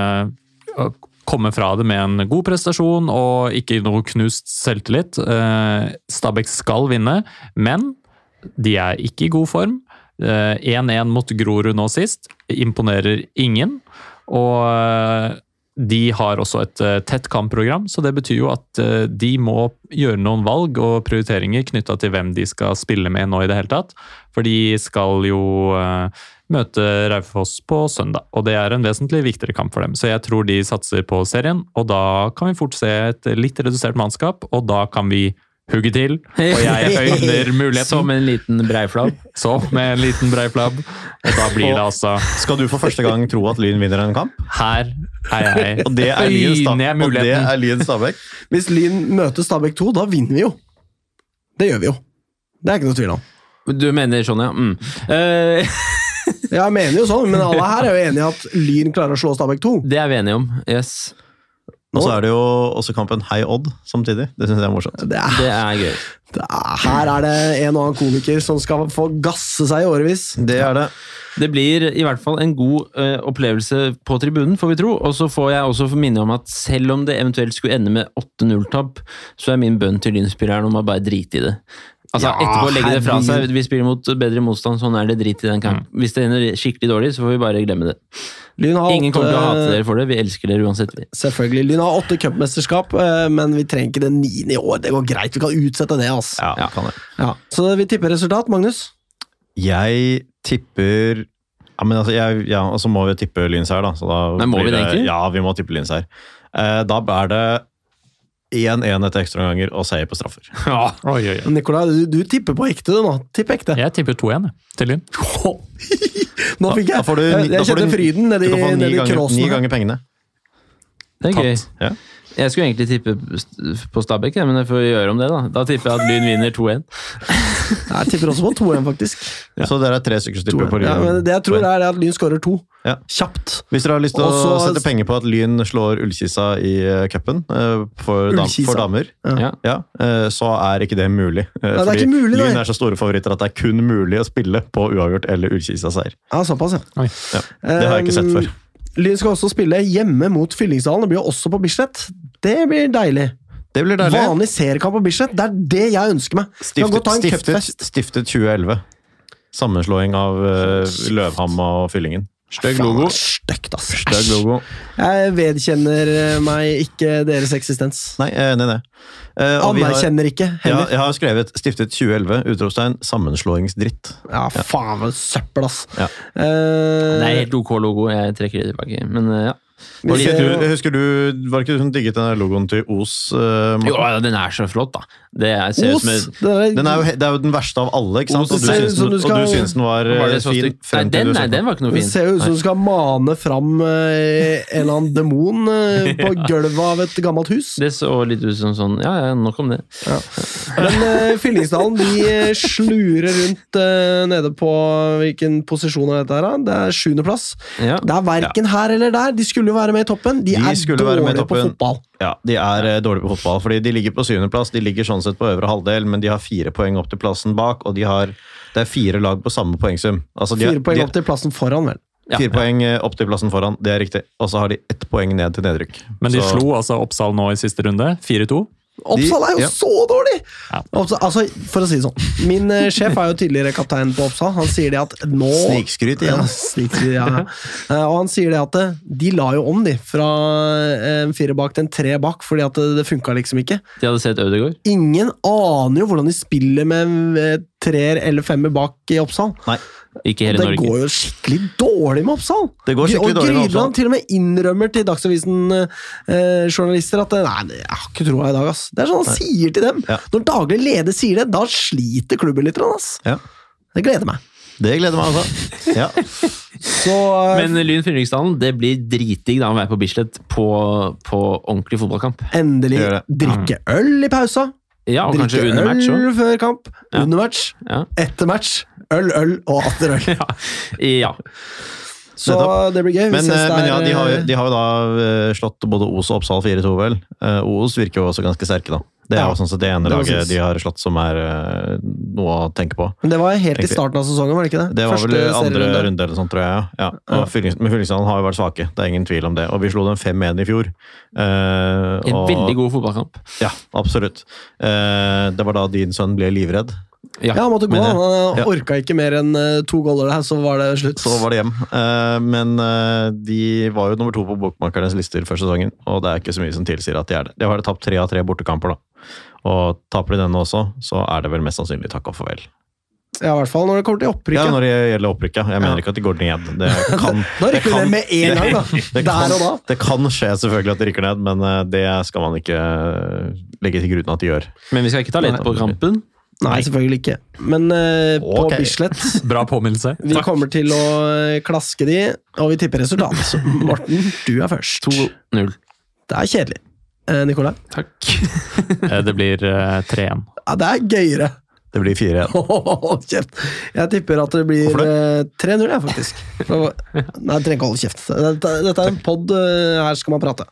D: eh, komme fra det med en god prestasjon og ikke noe knust selvtillit. Eh, Stabæk skal vinne, men de er ikke i god form. Eh, 1-1 mot Grorud nå sist imponerer ingen. Og eh, de har også et eh, tett kampprogram, så det betyr jo at eh, de må gjøre noen valg og prioriteringer knytta til hvem de skal spille med nå i det hele tatt. For de skal jo eh, møte Raufoss på søndag, og det er en vesentlig viktigere kamp for dem. Så jeg tror de satser på serien, og da kan vi fort se et litt redusert mannskap, og da kan vi hugge til. Og jeg øyner muligheten
B: Som en liten breiflabb.
D: så, med en liten breiflabb. Og da blir det altså
C: Skal du for første gang tro at Lyn vinner en kamp?
D: Her er jeg.
C: Og det er Lyn Stab-
D: Øyner jeg
C: og det
D: muligheten.
C: er Lyn Stabæk.
A: Hvis Lyn møter Stabæk 2, da vinner vi jo. Det gjør vi jo. Det er ikke noe tvil om.
B: Du mener sånn, ja. Mm. Eh,
A: Jeg mener jo sånn, men alle her er jo enige i at Lyn klarer å slå Stabæk 2.
B: det er vi enige om. Yes.
C: Og så er det jo også kampen Hei Odd samtidig. Det syns jeg er morsomt.
A: Det er,
B: Det er gøy.
A: det er, her er det en og annen komiker som skal få gasse seg i årevis.
C: Det er det.
B: Det blir i hvert fall en god eh, opplevelse på tribunen, får vi tro. Og så får jeg også minne om at selv om det eventuelt skulle ende med 8-0-tap, så er min bønn til Lyn-spilleren om å bare drite i det. Altså
A: Ja,
B: Etterpå legge det fra seg.
A: herregud. Mm.
B: Vi spiller mot bedre motstand, sånn er det drit i den kampen. Hvis det ender skikkelig dårlig, så får vi bare glemme det.
A: Lyn har
B: Ingen kommer til å hate
A: åtte,
B: dere for det. Vi elsker dere uansett. vi.
A: selvfølgelig. Lyn har åtte cupmesterskap, eh, men vi trenger ikke det niende i år. Det går greit, vi kan utsette det. ass.
C: Ja,
B: Ja.
C: Kan det.
A: Ja. Så vi tipper resultat, Magnus.
C: Jeg tipper ja, men altså, jeg, ja, Og så må vi tippe Lyns her, da. Så da
B: Nei, må
C: blir
B: vi det egentlig?
C: Ja, vi må tippe Lyns her. Eh, da er det 1-1 etter ekstraomganger og seier på straffer.
D: Oi, oi, oi.
A: Nicolai, du, du tipper på ekte, du nå. Tipp ekte.
D: Jeg tipper 2-1 jeg, til Lyn.
A: Nå fikk
C: Da
A: jeg,
C: får du,
A: jeg,
C: da
A: jeg
C: får du-
A: kjente fryden
C: Du
A: nedi,
C: kan få ni
A: nedi
C: ganger, ni
A: kråsen.
C: ganger pengene.
B: Det er gøy.
C: Ja.
B: Jeg skulle egentlig tippe st- på Stabæk, jeg, men jeg får gjøre om det. Da Da tipper jeg at Lyn vinner 2-1.
A: Jeg tipper også på 2-1, faktisk.
C: Så dere er tre stykker som tipper på Lyn.
A: Ja, men det jeg tror, er at Lyn skårer to.
C: Ja.
A: Kjapt.
C: Hvis dere har lyst til å
A: Og så-
C: sette penger på at Lyn slår Ullkisa i eh, cupen eh, for, dam
A: Ullkisa.
C: for damer,
B: Ja.
C: ja, eh, så er ikke det mulig. Eh,
A: det er ikke mulig,
C: Lyn
A: nei.
C: er så store favoritter at det er kun mulig å spille på uavgjort eller Ullkisa-seier.
A: Ja, såpass, ja.
D: Oi.
C: Ja, det har jeg ikke sett før.
A: Um, Lyn skal også spille hjemme mot Fyllingsdalen. Det blir jo også på Bislett. Det blir deilig.
C: Det blir deilig.
A: Vanlig seriekamp på Bislett. Det er det jeg ønsker meg. Vi kan godt
C: Stiftet,
A: ta en
C: stiftet,
A: cupfest.
C: stiftet 2011. Sammenslåing av eh, Løvham og Fyllingen. Stygg
A: Faen,
C: logo.
A: det er Stygt, ass.
C: Stygg
A: Æsj.
C: logo.
A: Jeg vedkjenner eh, meg ikke deres eksistens.
C: Nei, jeg er enig i det. Eh, og vi har-
A: Anerkjenner ikke
C: Ja,
A: heller.
C: jeg har skrevet 'stiftet 2011', utropstegn, sammenslåingsdritt.
A: Ja, faen, for søppel, ass.
C: Ja.
B: Det er
A: Eh,
B: helt ok logo, jeg trekker det tilbake. Men eh, ja.
A: vi
C: Var det
A: ser
C: ikke, du,
A: jo-
C: husker du, var det ikke du som digget den der logoen til Os? eh, Morten?
B: Jo, ja, den er så flott, da. Det er, ser
A: Os!
B: ut som
A: Det
B: en-
A: er-
C: Den er jo, he- det er jo den verste av alle, ikke
A: Os,
C: sant? Og
A: det
C: du
A: ser
C: syns
A: ut som
C: den,
A: du skal-
C: og du syns den var,
B: Var
C: eh,
B: det så
C: fin
B: stygt? Nei,
C: frem til
B: den,
C: du så
B: nei, den var ikke noe
A: Det
B: fin.
A: ser jo ut som du skal mane fram eh, en eller annen demon eh, på gulvet av et gammelt hus.
B: Det så litt ut som sånn Ja, ja, nok om det.
A: Men eh, Fyllingsdalen de eh, slurer rundt eh, nede på Hvilken posisjon er dette her, da? Det er sjuendeplass.
B: Ja.
A: Det er verken her eller der. De skulle jo være med i toppen. De,
C: De
A: er
C: skulle være med i
A: dårlige på
C: toppen.
A: fotball.
C: Ja, de er eh, dårlige på fotball, fordi de ligger på syvendeplass. De ligger sånn sett på øvre halvdel, men de har fire poeng opp til plassen bak, og de har, det er fire lag på samme poengsum. Altså, de, har-
A: Fire poeng
C: de,
A: opp til plassen foran, vel.
B: Ja.
C: Fire poeng eh, opp til plassen foran, det er riktig. Og så har de ett poeng ned til nedrykk.
D: Men de
C: Så-
D: slo altså Oppsal nå i siste runde. 4-2.
A: Oppsal er jo
C: ja.
A: så dårlig!
D: Ja.
A: Oppsal, altså, for å si det sånn. Min eh, sjef er jo tidligere kaptein på Oppsal. Han sier det at nå
C: Snikskryt
A: Ja,
C: igjen.
A: snikskryt, ja. ja. Eh, Og han sier det at eh, de la jo om, de. Fra eh, en fire bak til en tre bak, fordi at det- det funka liksom ikke.
B: De hadde sett Ødegaard.
A: Ingen aner jo hvordan de spiller med en eh, treer eller femmer bak i Oppsal.
C: Nei,
B: Ikke
A: Og
B: hele
A: det
B: Norge.
A: går jo skikkelig dårlig med Oppsal!
C: Det går skikkelig
A: og
C: dårlig med Oppsal.
A: Grydland til og med innrømmer til Dagsavisen-journalister at eh, Nei, jeg har ikke troa i dag, ass. Det er sånn han sier til dem.
C: Ja.
A: Når daglig leder sier det, da sliter klubben litt, ass.
C: Ja.
A: Det gleder meg.
C: det gleder meg altså. Ja.
A: Så eh,
B: Men Lyn Fyllingsdalen, det blir dritdigg da å være på Bislett på, på ordentlig fotballkamp.
A: endelig
C: Gjør
A: drikke øl i pausa.
B: Ja, og
A: Drikke
B: kanskje under match
A: øl
B: òg.
A: før kamp.
B: Ja.
A: Under match,
B: Ja.
A: etter match. Øl, øl og atter øl.
B: ja.
A: Så
C: Nettopp.
A: det blir gøy. Vi
C: Men,
A: ses
C: eh, men
A: der,
C: ja, de har, jo-
A: eh,
C: de har jo da eh, slått både Os og Oppsal 4-2, vel. Eh, Os virker jo også ganske sterke, da. Det er
A: Ja,
C: jo sånn sett det ene
A: det må
C: laget
A: sies.
C: de har slått som er eh, noe å tenke på.
A: Men det var helt i
C: Egentlig.
A: starten av sesongen, var det ikke det?
C: Det var vel eh, andre
A: serierunde.
C: runde eller sånt, tror jeg. Ja. Ja. Og Fyllings- Men Fyllingsdalen har jo vært svake, det er ingen tvil om det. Og vi slo dem 5-1 i fjor. Eh,
B: En
C: og-
B: veldig god fotballkamp.
C: Ja, absolutt. Eh, det var da din sønn ble livredd.
B: Ja.
A: Ja, han måtte gå.
C: Men,
A: Han eh,
C: ja.
A: orka ikke mer enn eh, to goller der, så var det slutt.
C: Så var det hjem. Eh, men eh, de var jo nummer to på bokmakernes lister før sesongen, og det er ikke så mye som tilsier at de er det. De har tapt tre av tre bortekamper, da. Og taper de denne også, så er det vel mest sannsynlig takk og farvel.
A: Ja, i hvert fall når det kommer til
C: Ja,
A: opprykket.
C: når det gjelder opprykket. Jeg mener ikke at de går ned. Det kan,
A: da rykker vi ned med en gang, da.
C: det
A: Der og da.
C: kan, det kan skje selvfølgelig at de rykker ned, men eh, det skal man ikke eh, legge til grunn at de gjør.
B: Men vi skal ikke ta lett på kampen.
A: Nei, selvfølgelig ikke. Men eh,
C: Ok.
A: på Bislett
D: Bra påminnelse.
A: Vi kommer til å eh, klaske de, og vi tipper resultat. Så, Morten, du er først.
B: 2-0.
A: Det er kjedelig. Eh, Nicolai?
B: Takk.
D: Eh, Det blir eh, 3-1.
A: Ja, det er gøyere.
C: Det blir 4-1.
A: Hold kjeft! Jeg tipper at det blir eh, 3-0, jeg, faktisk. Så- Nei, jeg trenger ikke holde kjeft. Dette, dette er en pod, her skal man prate.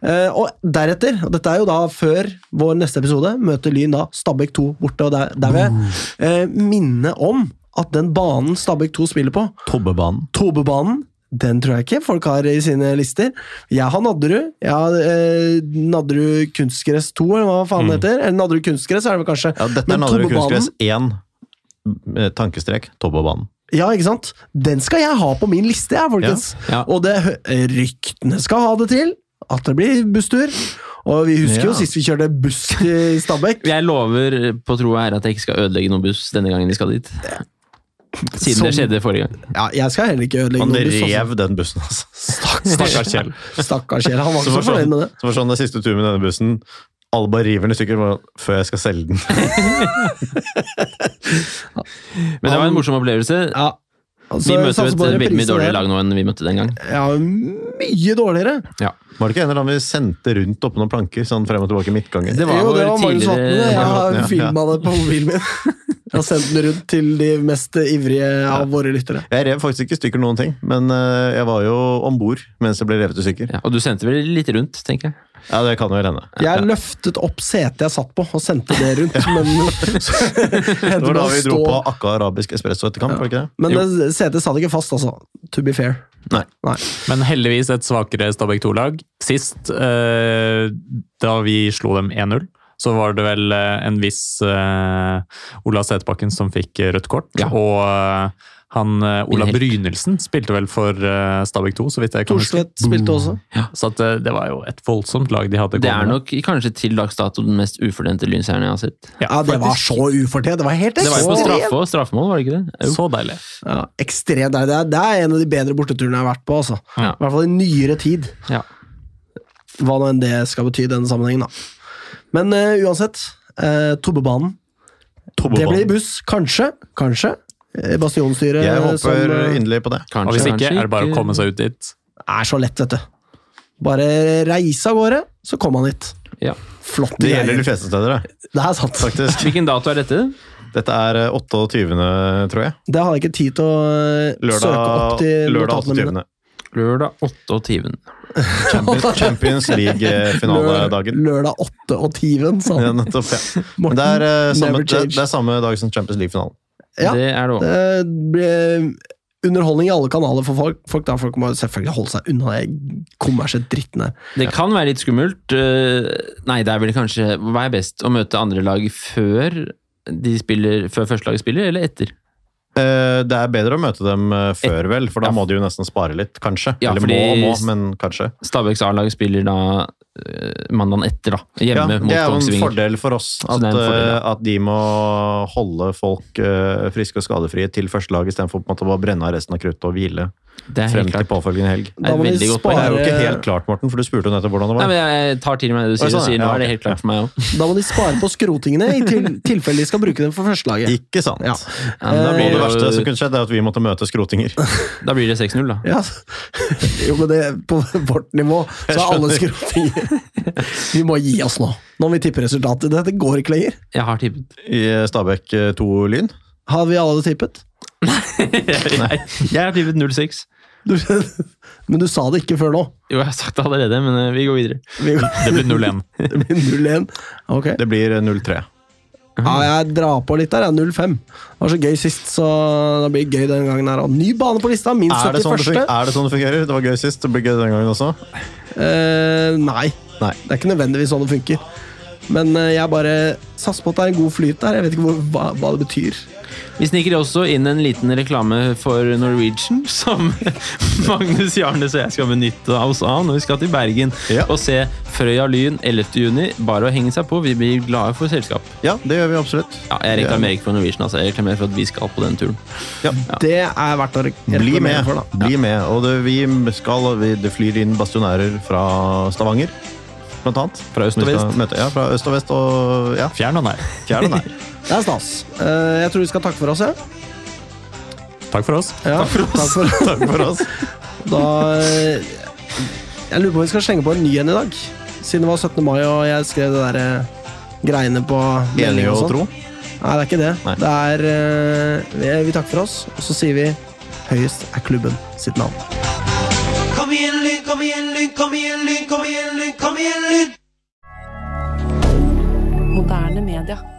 A: Eh, og deretter, og dette er jo da før
C: Uh.
A: vår neste episode, møter Lyn da Stabæk 2 borte, og der, der vil jeg eh, minne om at den banen Stabæk 2 spiller på,
C: Tobbebanen.
A: Tobebanen, den tror jeg ikke folk har i sine lister. Jeg har Nadderud. Jeg har eh, Nadderud kunstgress 2, eller hva faen det heter. Eller Nadderud kunstgress, er det vel kanskje.
C: Mm. Ja, dette er
A: Men
C: Nadderud
A: Tobbebanen-
C: kunstgress 1. eh, Tankestrek Tobbebanen.
A: Ja, ikke sant? Den skal jeg ha på min liste, jeg, folkens.
B: Ja.
A: Og det, ryktene skal ha det til at det blir busstur. Og vi husker jo
C: Ja.
A: sist vi kjørte buss til Stabæk.
B: Jeg lover på tro og ære at jeg ikke skal ødelegge noen buss denne gangen vi skal dit. Siden
D: Sånn.
A: Som-
B: det skjedde forrige gang.
A: Ja, jeg skal heller ikke ødelegge
C: Han
A: noen buss. altså.
C: rev den bussen, altså.
D: Stakkars Kjell.
A: Stakkars Kjell, han var
C: Som
A: ikke
C: var
A: så fornøyd
C: sånn,
A: med det.
C: som var sånn den siste turen med denne bussen. Alle bare river den i stykker bare, før jeg skal selge den.
B: Men det var en morsom opplevelse.
A: Ja. Altså,
B: vi møter jo
A: satser
B: et
A: på
B: veldig mye
A: reprise
B: dårligere
A: der.
B: lag nå enn vi møtte den gang.
A: Ja, mye dårligere.
B: Ja.
C: Var det ikke en eller annen vi sendte rundt oppå noen planker sånn frem og tilbake i midtgangen?
B: Det var
A: jo, det
B: vår
A: var Magnus
B: tidligere-
A: Vatne. Jeg
C: Ja, ja.
A: har filma det på mobilen min. Jeg har sendt den rundt til de mest ivrige av våre lyttere.
C: Jeg rev faktisk ikke i stykker noen ting, men eh, jeg var jo om bord mens det ble revet i stykker.
B: Ja, og du sendte vel litt rundt, tenker jeg.
C: Ja, det kan jo hende.
A: Jeg løftet opp setet jeg satt på, og sendte det rundt. Men,
C: Det var da vi dro på
A: Stå-
C: Akka arabisk espresso etter kamp, var det ikke det?
A: men det setet satt ikke fast, altså. To be fair.
C: Nei.
A: Nei.
D: Men heldigvis et svakere Stabæk 2-lag. Sist, eh, da vi slo dem 1-0, så var det vel eh, en viss eh, Ola Setebakken som fikk eh, rødt kort.
B: Ja.
D: Og eh, han eh, Ola
B: Min helt.
D: Brynildsen spilte vel for eh, Stabæk 2, så vidt jeg kan huske.
A: Thorstvedt spilte også.
D: Så at, eh, det var jo et voldsomt lag de hadde
B: Det er
D: gående.
B: nok kanskje til dags dato den mest ufortjente lynseieren jeg har sett.
A: Ja, det var så ufortjent! Det var helt
B: Det var jo på
A: ekstremt!
B: straffe og straffemål, var det ikke det? Jo.
D: Så deilig.
A: Ja, ekstremt. Det er, det er en av de bedre borteturene jeg har vært på, altså.
B: Ja.
A: I hvert fall i nyere tid.
B: Ja.
A: Hva nå enn det skal bety i denne sammenhengen, da. Men eh, uansett. eh, Tobbebanen. Det blir buss. Kanskje. Kanskje. Eh, Bastionstyret
C: Jeg
A: som
C: håper
A: eh,
C: inderlig på det.
B: Kanskje,
D: Og hvis ikke,
B: kanskje
D: er det bare å komme seg ut dit.
A: er så lett, vet du. Bare reise av gårde, så kom han hit.
B: Ja.
A: Flott.
C: Det
A: greier.
C: gjelder de fleste steder, det.
A: Det er sant.
C: faktisk.
B: Hvilken dato er dette?
C: Dette er eh, 28., tror jeg.
A: Det har jeg ikke tid til å eh, søke opp
C: Lørdag,
A: til
C: lørdag
A: notatene mine.
C: 28.
B: Lørdag 28.
C: Champions, Champions League-finaledagen.
A: Lør- Lørdag 8 og 10, sa
C: Ja,
A: han.
C: nettopp, ja. Men det er, eh, samme,
A: never
C: det,
A: change.
C: det er samme dag som Champions League-finalen.
A: Ja.
B: Det er det også.
A: Det blir underholdning i alle kanaler for folk. Folk, da, folk må selvfølgelig holde seg unna den kommersielle dritten her.
B: Det kan være litt skummelt. eh, Nei, det er vel kanskje Hva er best? Å møte andre lag før de spiller, før første lag spiller, eller etter?
C: Eh, Det er bedre å møte dem eh, før, vel, for da må de jo nesten spare litt, kanskje.
B: Ja,
C: Eller
B: fordi-
C: må og må, men kanskje.
B: Stabæks A-lag spiller da eh, mandagen etter, da.
C: Ja,
B: Hjemme
C: det
B: mot
C: er jo en
B: Kongsvinger.
C: fordel for oss
B: Så
C: at,
B: det er en fordel, ja.
C: eh, at de må holde folk eh, friske og skadefrie til første lag, istedenfor på en måte å bare brenne av resten av kruttet og hvile
B: Det er
C: frem
B: helt
C: til
B: klart.
C: påfølgende helg.
B: Det er
A: Da må
B: veldig
A: vi
B: godt poeng.
C: Det er jo ikke
A: spare,
C: helt klart, Morten, for du spurte jo nettopp hvordan det
B: Nei,
C: var.
B: men jeg tar til meg det du
C: Oi,
B: sier, og
C: sånn,
B: sier nå
C: ja,
B: er det
C: ok.
B: helt klart for meg òg.
A: da må de spare på skrotingene i til, tilfelle de skal bruke dem for førstelaget.
C: Ikke sant.
A: Ja.
C: Men da blir
A: Eh,
C: det verste som kunne skjedd, er at vi måtte møte skrotinger.
B: Da blir det 6-0, da.
A: Ja. Jo, men det, på vårt nivå så er alle skrotinger Vi må gi oss nå, når vi tipper resultatet. Dette går ikke lenger.
B: Jeg har tippet.
C: I Stabæk 2 Lyn.
A: Har vi alle tippet?
B: Nei, jeg har tippet 0-6.
A: Du, men du sa det ikke før nå.
B: Jo, jeg har sagt det allerede, men eh, vi går videre.
A: Vi,
D: Det blir 0-1.
A: det blir 0-1. Ok.
C: Det blir eh, 0-3.
A: Ja, jeg drar på litt der. jeg. 0-5. Det var så gøy sist, så det blir gøy den gangen her. også. Ny bane på lista, min
C: Er det, sånn det,
A: 71.
C: fun- er det sånn det fungerer? Det var gøy sist, det blir gøy den gangen også.
A: Eh, nei.
C: Nei.
A: Det er ikke nødvendigvis sånn det funker. Men eh, jeg bare satser på at det er en god flyt der. Jeg vet ikke hvor, hva, hva det betyr.
B: Vi sniker også inn en liten reklame for Norwegian, som Magnus Jarnes og jeg skal benytte oss av når vi skal til Bergen
C: Ja.
B: og se Frøya Lyn 11. juni. Bare å henge seg på. Vi blir glade for selskap.
C: Ja, det gjør vi absolutt.
B: Ja, jeg reklamerer ikke for Norwegian, altså. Jeg reklamerer for at vi skal på den turen.
A: Det er verdt å re-
C: Bli
A: reklamere
C: med.
A: for, da.
C: Bli med. Og det, vi skal, vi, det flyr inn bastionærer fra Stavanger, blant annet.
B: Fra øst og
C: Vi skal
B: vest.
C: Møte, ja, fra øst og vest og ja,
D: Fjern og nei.
C: fjern og nær.
A: Det er stas. Eh, jeg tror vi skal takke for oss, jeg.
D: Takk for oss.
A: Ja. Takk for oss.
C: Takk for oss.
A: Da eh, Jeg lurer på om vi skal slenge på en ny en i dag. Siden det var 17. mai og jeg skrev det der eh, greiene på
C: Enige
A: melding og
C: og
A: sånn.
C: tro.
A: Nei, det er ikke det.
C: Nei.
A: Det er eh, vi, vi takker for oss, og så sier vi høyest er klubben sitt navn.
G: Kom igjen, Lyn, kom igjen, Lyn, kom igjen, Lyn, kom igjen, Lyn, kom igjen, Lyn!
H: Moderne media.